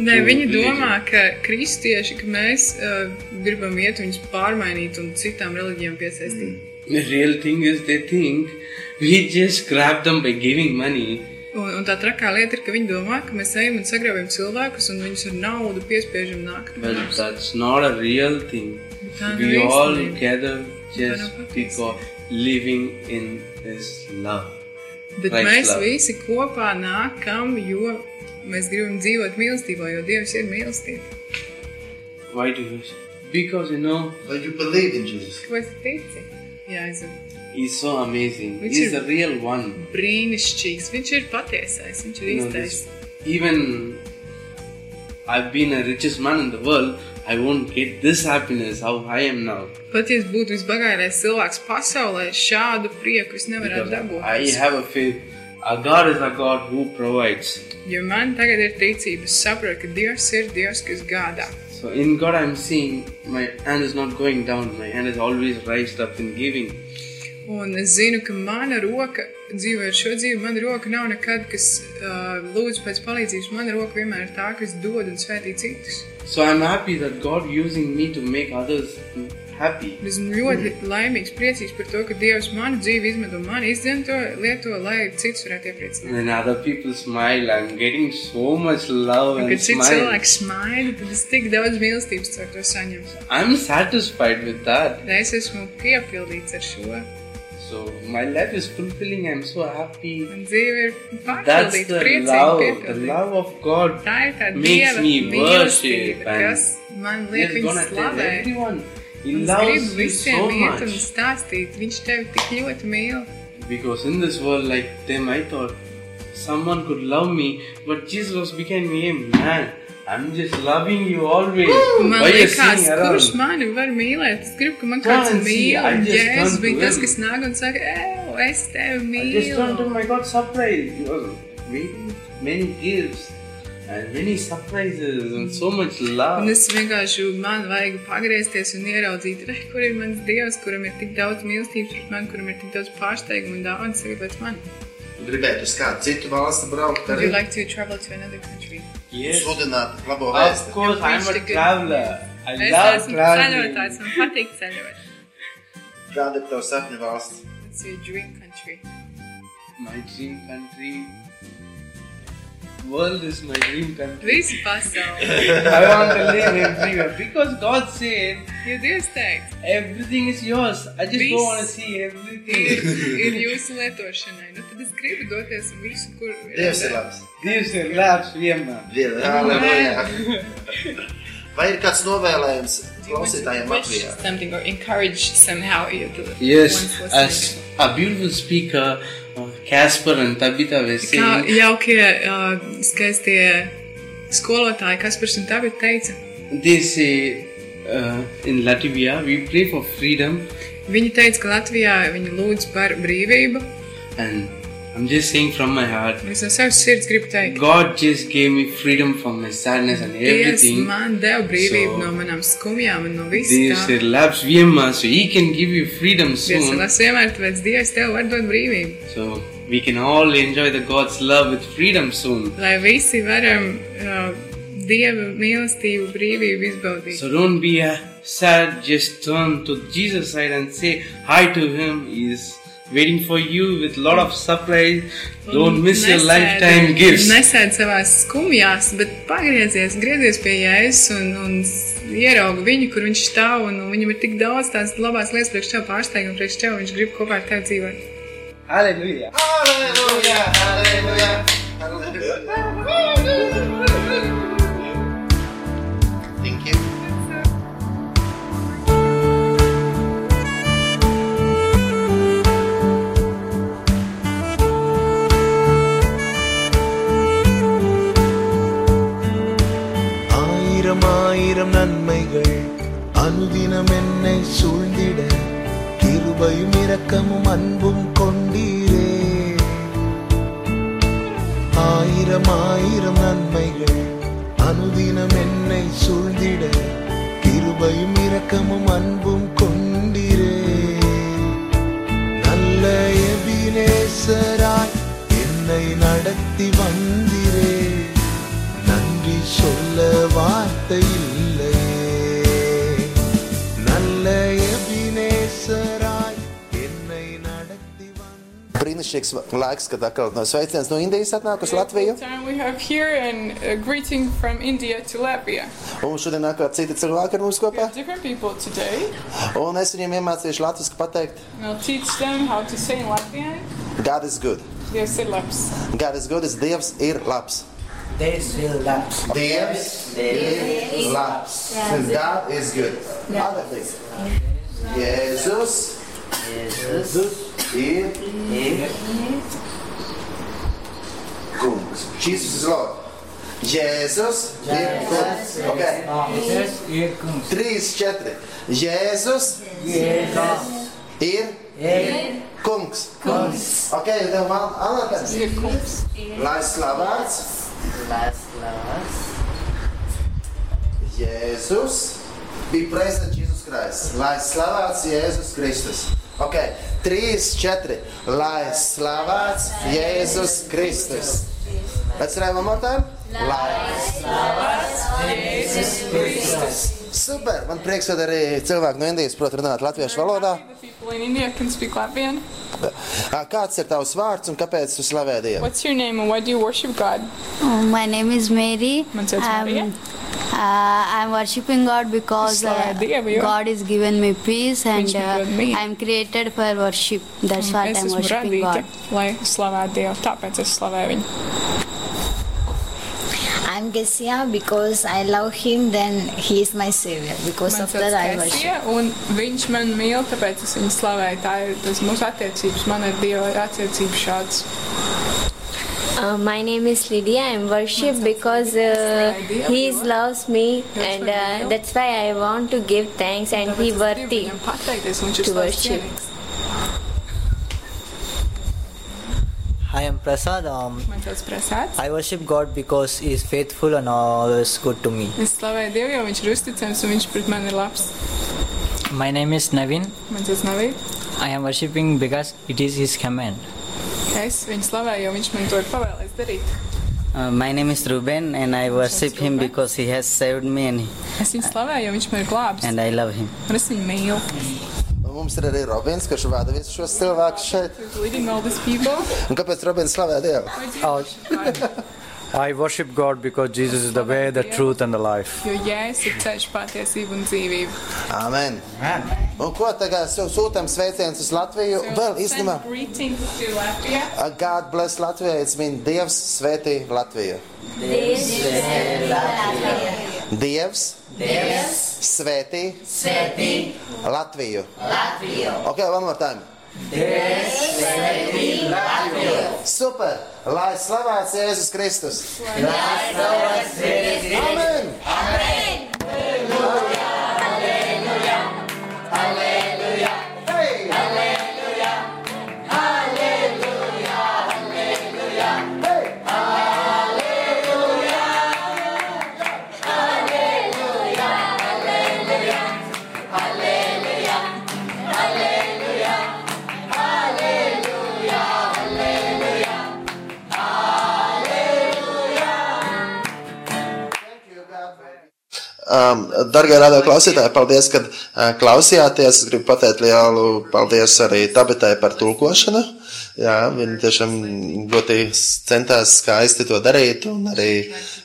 [SPEAKER 2] Nē,
[SPEAKER 8] to
[SPEAKER 2] viņi
[SPEAKER 8] religion.
[SPEAKER 2] domā, ka kristieši, ka mēs uh, gribam iet viņus pārmainīt un citām reliģijām piesaistīt. Mm.
[SPEAKER 8] The real thing is they think we just grab them by giving money.
[SPEAKER 2] Un, un tā trakā lieta ir, ka viņi domā, ka mēs ejam un sagrāvjam cilvēkus un viņus ar naudu piespiežam nākt. pie
[SPEAKER 8] But
[SPEAKER 2] mums.
[SPEAKER 8] that's not a real thing.
[SPEAKER 2] Can't
[SPEAKER 8] We
[SPEAKER 2] raise
[SPEAKER 8] all
[SPEAKER 2] them.
[SPEAKER 8] gather just
[SPEAKER 2] Cannot raise
[SPEAKER 8] because living in His love.
[SPEAKER 2] Bet
[SPEAKER 8] Like
[SPEAKER 2] mēs
[SPEAKER 8] love.
[SPEAKER 2] visi kopā nākam, jo mēs gribam dzīvot mīlestībā, jo Dievs ir mīlestība.
[SPEAKER 8] Why do you? Because you know
[SPEAKER 1] Vai you believe in Jesus?
[SPEAKER 2] Ko es teicu? Jā, es
[SPEAKER 8] He's so amazing.
[SPEAKER 2] Which
[SPEAKER 8] He's
[SPEAKER 2] is-
[SPEAKER 8] the real one.
[SPEAKER 2] brīnišķīgs. Viņš ir patiesais, viņš ir
[SPEAKER 8] You know,
[SPEAKER 2] īstais.
[SPEAKER 8] this- even I've been a richest man in the world, I won't get this happiness how I am now.
[SPEAKER 2] Pat ja es būtu visbagātīgākais cilvēks pasaulē, šādu prieku es nevarētu
[SPEAKER 8] Because
[SPEAKER 2] dabūt.
[SPEAKER 8] I have a faith. Our God is a God who provides.
[SPEAKER 2] Jo man tagad ir ticība, es saprotu, ka Dievs ir Dievs, kas gādā.
[SPEAKER 8] So in God I'm seeing my hand is not going down, my hand is always raised up in giving.
[SPEAKER 2] Un es zinu, ka mana roka, dzīvojot šo dzīvi, mana roka nav nekad, kas uh, lūdz pēc palīdzības. Mana roka vienmēr ir tā, kas dod un svētī citus.
[SPEAKER 8] So I'm happy that God using me to make others happy.
[SPEAKER 2] Un Esmu ļoti
[SPEAKER 8] Mm.
[SPEAKER 2] laimīgs, priecīgs par to, ka Dievs manu dzīvi izmanto, man izdzemto, lieto, lai citus varētu iepriecināt.
[SPEAKER 8] When other people smile, I'm getting so much love
[SPEAKER 2] Un,
[SPEAKER 8] and
[SPEAKER 2] kad cits
[SPEAKER 8] smile.
[SPEAKER 2] cilvēks smaida, tad es tik daudz mīlestības caur to saņemu.
[SPEAKER 8] I'm satisfied with that.
[SPEAKER 2] Es esmu piepildīts ar šo.
[SPEAKER 8] So my life is fulfilling. I'm so happy.
[SPEAKER 2] Man dzīve ir
[SPEAKER 8] That's
[SPEAKER 2] pārpildīta,
[SPEAKER 8] the love,
[SPEAKER 2] priecīga,
[SPEAKER 8] the
[SPEAKER 2] piepildīta.
[SPEAKER 8] love of God.
[SPEAKER 2] Tā ir tā
[SPEAKER 8] Makes
[SPEAKER 2] dieva
[SPEAKER 8] me worship
[SPEAKER 2] mīlestība,
[SPEAKER 8] and
[SPEAKER 2] kas man
[SPEAKER 8] He
[SPEAKER 2] liek
[SPEAKER 8] is
[SPEAKER 2] viņu
[SPEAKER 8] gonna tell
[SPEAKER 2] slavēt.
[SPEAKER 8] everyone. He
[SPEAKER 2] Es
[SPEAKER 8] loves
[SPEAKER 2] gribu
[SPEAKER 8] you so
[SPEAKER 2] visiem iet un
[SPEAKER 8] much.
[SPEAKER 2] stāstīt, viņš tevi tik ļoti mīl.
[SPEAKER 8] Because in this world, like them, I thought someone could love me, but Jesus became a man. I'm just loving you always.
[SPEAKER 2] Man
[SPEAKER 8] Why you
[SPEAKER 2] liekas,
[SPEAKER 8] sing
[SPEAKER 2] kurš
[SPEAKER 8] around?
[SPEAKER 2] mani var mīlēt? Es gribu, ka man
[SPEAKER 8] Come
[SPEAKER 2] kāds
[SPEAKER 8] and see,
[SPEAKER 2] mīl.
[SPEAKER 8] I
[SPEAKER 2] un
[SPEAKER 8] just
[SPEAKER 2] Jēzus
[SPEAKER 8] come to
[SPEAKER 2] bija tas,
[SPEAKER 8] him.
[SPEAKER 2] kas nāk un saka, "Ej, es tevi
[SPEAKER 8] I just turned to
[SPEAKER 2] mīlu.
[SPEAKER 8] my God surprise. He was making many gifts and many surprises and so much love.
[SPEAKER 2] Un es vienkārši, man vajag pagriezties un ieraudzīt, re, kur ir mans dievs, kuram ir tik daudz mīlestības pret mani, kuram ir tik daudz pārsteigumu un dāvanu tagad pēc manis.
[SPEAKER 1] Gribētu uz kādu citu valsti braukt,
[SPEAKER 2] Would you
[SPEAKER 1] arī
[SPEAKER 2] like to travel to another country?
[SPEAKER 8] Yes.
[SPEAKER 1] sludināt labo
[SPEAKER 8] Of
[SPEAKER 1] vēstu.
[SPEAKER 8] course, I'm
[SPEAKER 2] Preach the
[SPEAKER 8] a
[SPEAKER 2] good
[SPEAKER 8] traveler. I
[SPEAKER 2] Es
[SPEAKER 8] love
[SPEAKER 2] esmu
[SPEAKER 8] traveling.
[SPEAKER 2] ceļotājs, man patīk ceļot.
[SPEAKER 1] Kāda ir tava sapņu valsts?
[SPEAKER 2] It's your dream country.
[SPEAKER 8] My dream country. World is my dream country.
[SPEAKER 2] Visu pasauli.
[SPEAKER 8] I want to live everywhere because God said
[SPEAKER 2] Jo Dievs teica.
[SPEAKER 8] everything is yours. I just
[SPEAKER 2] Peace.
[SPEAKER 8] don't want to see everything.
[SPEAKER 2] ir, ir jūsu lietošanai. Nu, tad es gribu doties uz visu, kur
[SPEAKER 1] Dievs ir labs.
[SPEAKER 8] Dievs ir labs vienmēr.
[SPEAKER 1] Viena, halleluja. Vai ir kāds novēlējums klausītājiem Latvijā?
[SPEAKER 2] Something or encourage somehow you to
[SPEAKER 8] Yes, as a beautiful speaker, uh, Casper and Tabitha were
[SPEAKER 2] Kā
[SPEAKER 8] saying,
[SPEAKER 2] jaukie, uh, skaistie skolotāji, kas par šim tagad teica,
[SPEAKER 8] they say uh, in Latvia, we pray for freedom,
[SPEAKER 2] viņi teica, ka Latvijā viņi lūdz par brīvību.
[SPEAKER 8] and I'm just saying from my heart,
[SPEAKER 2] Un Es no savas sirds gribu teikt,
[SPEAKER 8] God just gave me freedom from my sadness and
[SPEAKER 2] Dievs
[SPEAKER 8] everything.
[SPEAKER 2] man deva brīvību
[SPEAKER 8] So-
[SPEAKER 2] no manām skumjām un no
[SPEAKER 8] Dievs
[SPEAKER 2] visām.
[SPEAKER 8] ir labs vienmēr, so He can give you freedom
[SPEAKER 2] Dievs ir
[SPEAKER 8] soon.
[SPEAKER 2] labs vienmēr, tāpēc Dievs tev var dot brīvību.
[SPEAKER 8] So we can all enjoy the God's love with freedom soon.
[SPEAKER 2] lai visi varam uh, dieva mīlestību, brīvību izbaudīt.
[SPEAKER 8] So don't be uh, sad, just turn to Jesus' side and say hi to Him. He is waiting for you with lot of surprise. Don't miss your
[SPEAKER 2] Nesēdi-
[SPEAKER 8] lifetime gifts.
[SPEAKER 2] Nesēdi savā skumjās, bet pagriezies, griezies pie jēzus un, un s- ieraugi viņu, kur viņš stāv. Un, un viņam ir tik daudz tās labās lietas priekš tev, pārsteigumu priekš tev. Viņš grib kopā ar tevi dzīvot.
[SPEAKER 8] Hallelujah.
[SPEAKER 1] Halleluja, halleluja, halleluja. Thank you.
[SPEAKER 9] ஆயிரம் ஆயிரம் நன்மைகள் அனுதினம் என்னை சூழ்ந்திட கிருபையும் இரக்கமும் அன்பும் கொண்டீரே ஆயிரம் ஆயிரம் நன்மைகள் அனுதினம் என்னை சூழ்ந்திட கிருபையும் இரக்கமும் அன்பும் கொண்டீரே நல்ல எபினேசராய் என்னை நடத்தி வந்தீரே நன்றி சொல்ல வார்த்தை இல்லையே நல்ல எபினேசராய் என்னை நடத்தி வந்த
[SPEAKER 4] Brīnišķīgs va- laiks, kad atkal no sveiciens no Indijas atnāk uz Latviju.
[SPEAKER 10] We have here an a greeting from India to Latvia.
[SPEAKER 4] Un šodien nāk kādi citi cilvēki ar mums kopā.
[SPEAKER 10] Different people today,
[SPEAKER 4] Un es viņiem iemācīšu latviešu pateikt,
[SPEAKER 10] and I'll teach them how to say in Latvian.
[SPEAKER 4] God is good.
[SPEAKER 10] Dievs ir labs.
[SPEAKER 4] God is good, es Dievs ir labs.
[SPEAKER 1] Dievs ir labs. God is good. Other things. Jēzus Jesus e Kungs. Jesus is Lord. Jēzus ir kungs. Okay.
[SPEAKER 11] Jēzus ir kungs.
[SPEAKER 1] Trīs, četri. Jēzus
[SPEAKER 11] Jēzus
[SPEAKER 1] ir
[SPEAKER 11] ir
[SPEAKER 1] kungs. então,
[SPEAKER 11] kungs.
[SPEAKER 1] Ok, tev man anākās. Ir kungs. Lai slavēts. Lai slavēts. Jēzus. Be praised Jesus Christ. Lai slavēts Jēzus Kristus. Ok, trīs, četri. Lai slavēts Jēzus Kristus. Let's try one more time. Lai slavēts Jēzus Kristus. Super! Man prieks, ka arī cilvēki no Indijas prot runāt latviešu valodā.
[SPEAKER 2] People in India can speak Latvian.
[SPEAKER 1] Ā, Kāds ir tavs vārds un kāpēc tu slavē Dievu?
[SPEAKER 2] What's your name and why do you worship God?
[SPEAKER 12] Oh, my name is Mary. I'm, uh, I'm worshiping God because uh, God has given me peace and uh, I'm created for worship. That's
[SPEAKER 7] Mm,
[SPEAKER 2] Un
[SPEAKER 12] why
[SPEAKER 2] es
[SPEAKER 12] I'm
[SPEAKER 2] esmu
[SPEAKER 12] worshiping
[SPEAKER 2] radīta,
[SPEAKER 12] God.
[SPEAKER 2] lai slavētu Dievu, tāpēc es slavēju viņu.
[SPEAKER 13] I'm Gesia because I love him, then he is my savior. Because
[SPEAKER 2] Man
[SPEAKER 13] of
[SPEAKER 2] sauc
[SPEAKER 13] that, I
[SPEAKER 2] Kesija,
[SPEAKER 13] worship.
[SPEAKER 2] un viņš man mīl, tāpēc es viņu slavēju. Tā ir tas mūsu attiecības, man ar Dievu ir attiecības šāds.
[SPEAKER 14] Uh, my name is Lydia. I'm worship because uh, He is loves me, and uh, that's why I want to give thanks and He worthy to worship.
[SPEAKER 15] Hi, I'm Prasad. Um,
[SPEAKER 2] Man sauc Prasāds.
[SPEAKER 15] I worship God because He is faithful and always good to me.
[SPEAKER 2] Es slavēju Dievu, jo viņš ir uzticams un viņš pret mani ir labs.
[SPEAKER 16] My name is Navin.
[SPEAKER 2] Man sauc Navī.
[SPEAKER 16] I am worshipping because it is His command.
[SPEAKER 2] Es viņu slavēju, jo viņš man to ir pavēlējis darīt.
[SPEAKER 17] Uh, my name is Ruben and I worship him because he has saved me and,
[SPEAKER 2] Es viņu slavēju, jo viņš man ir glābs.
[SPEAKER 17] and I love him.
[SPEAKER 2] Un es viņu mīlu.
[SPEAKER 1] Un Mums ir arī Robins, kurš vada visus šos cilvēkus šeit.
[SPEAKER 2] Leading all these people.
[SPEAKER 1] Un kāpēc Robins slavē Dievu?
[SPEAKER 8] I worship God because Jesus is the way, the truth, and the life.
[SPEAKER 2] Jo jēzus ir ceļš, patiesība un dzīvība.
[SPEAKER 1] Amen. Un ko tagad sū- sūtam sveicienus uz Latviju? Vēl īstenībā.
[SPEAKER 2] Greetings to Latvia.
[SPEAKER 1] Uh, God bless Latviju. It's mean Dievs svētī Latviju. Dievs.
[SPEAKER 18] Dievs
[SPEAKER 1] Svētī.
[SPEAKER 18] svētī
[SPEAKER 1] Latviju.
[SPEAKER 18] Latviju.
[SPEAKER 1] Okay, one more time.
[SPEAKER 18] Dievs svētī Latviju.
[SPEAKER 1] Super! Lai slavēts Jēzus Kristus!
[SPEAKER 18] Lai slavēts Jēzus Kristus.
[SPEAKER 1] Amen!
[SPEAKER 18] Amen!
[SPEAKER 1] Um, Darbie radio klausītāji, paldies, ka uh, klausījāties. Es gribu pateikt lielu paldies arī Tabitai par tulkošanu. Jā, viņa tiešām ļoti centās skaisti to darīt. Un arī,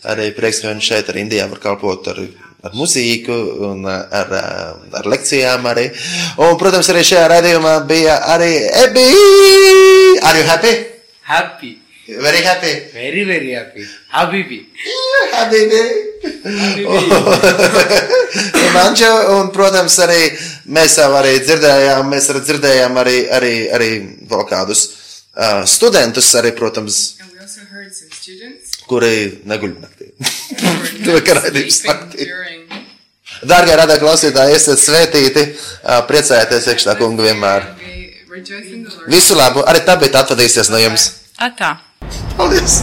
[SPEAKER 1] arī prieks, ka viņa šeit ar Indijā var kalpot ar, ar muziku un uh, ar, uh, ar lekcijām. Arī. Un, protams, arī šajā raidījumā bija arī Ebi. Are you happy?
[SPEAKER 19] Happy.
[SPEAKER 1] Very happy.
[SPEAKER 19] Very, very happy. Habibi.
[SPEAKER 1] Habibi. Imanča, un, protams, arī mēs jau arī dzirdējām, mēs arī dzirdējām arī, arī, arī vēl kādus uh, studentus, arī, protams,
[SPEAKER 3] And we also heard some students
[SPEAKER 1] kuri neguļ naktī.
[SPEAKER 3] who
[SPEAKER 1] To
[SPEAKER 3] were
[SPEAKER 1] kā
[SPEAKER 3] not
[SPEAKER 1] raidījums
[SPEAKER 3] sleeping
[SPEAKER 1] naktī.
[SPEAKER 3] during
[SPEAKER 1] Dārgie radā klausītāji, esat svētīti, uh, priecājieties iekšā kungu vienmēr.
[SPEAKER 3] rejoicing the Lord.
[SPEAKER 1] Visu labu, arī tā bija atvadīsies no jums.
[SPEAKER 3] Atā.
[SPEAKER 1] Paldies!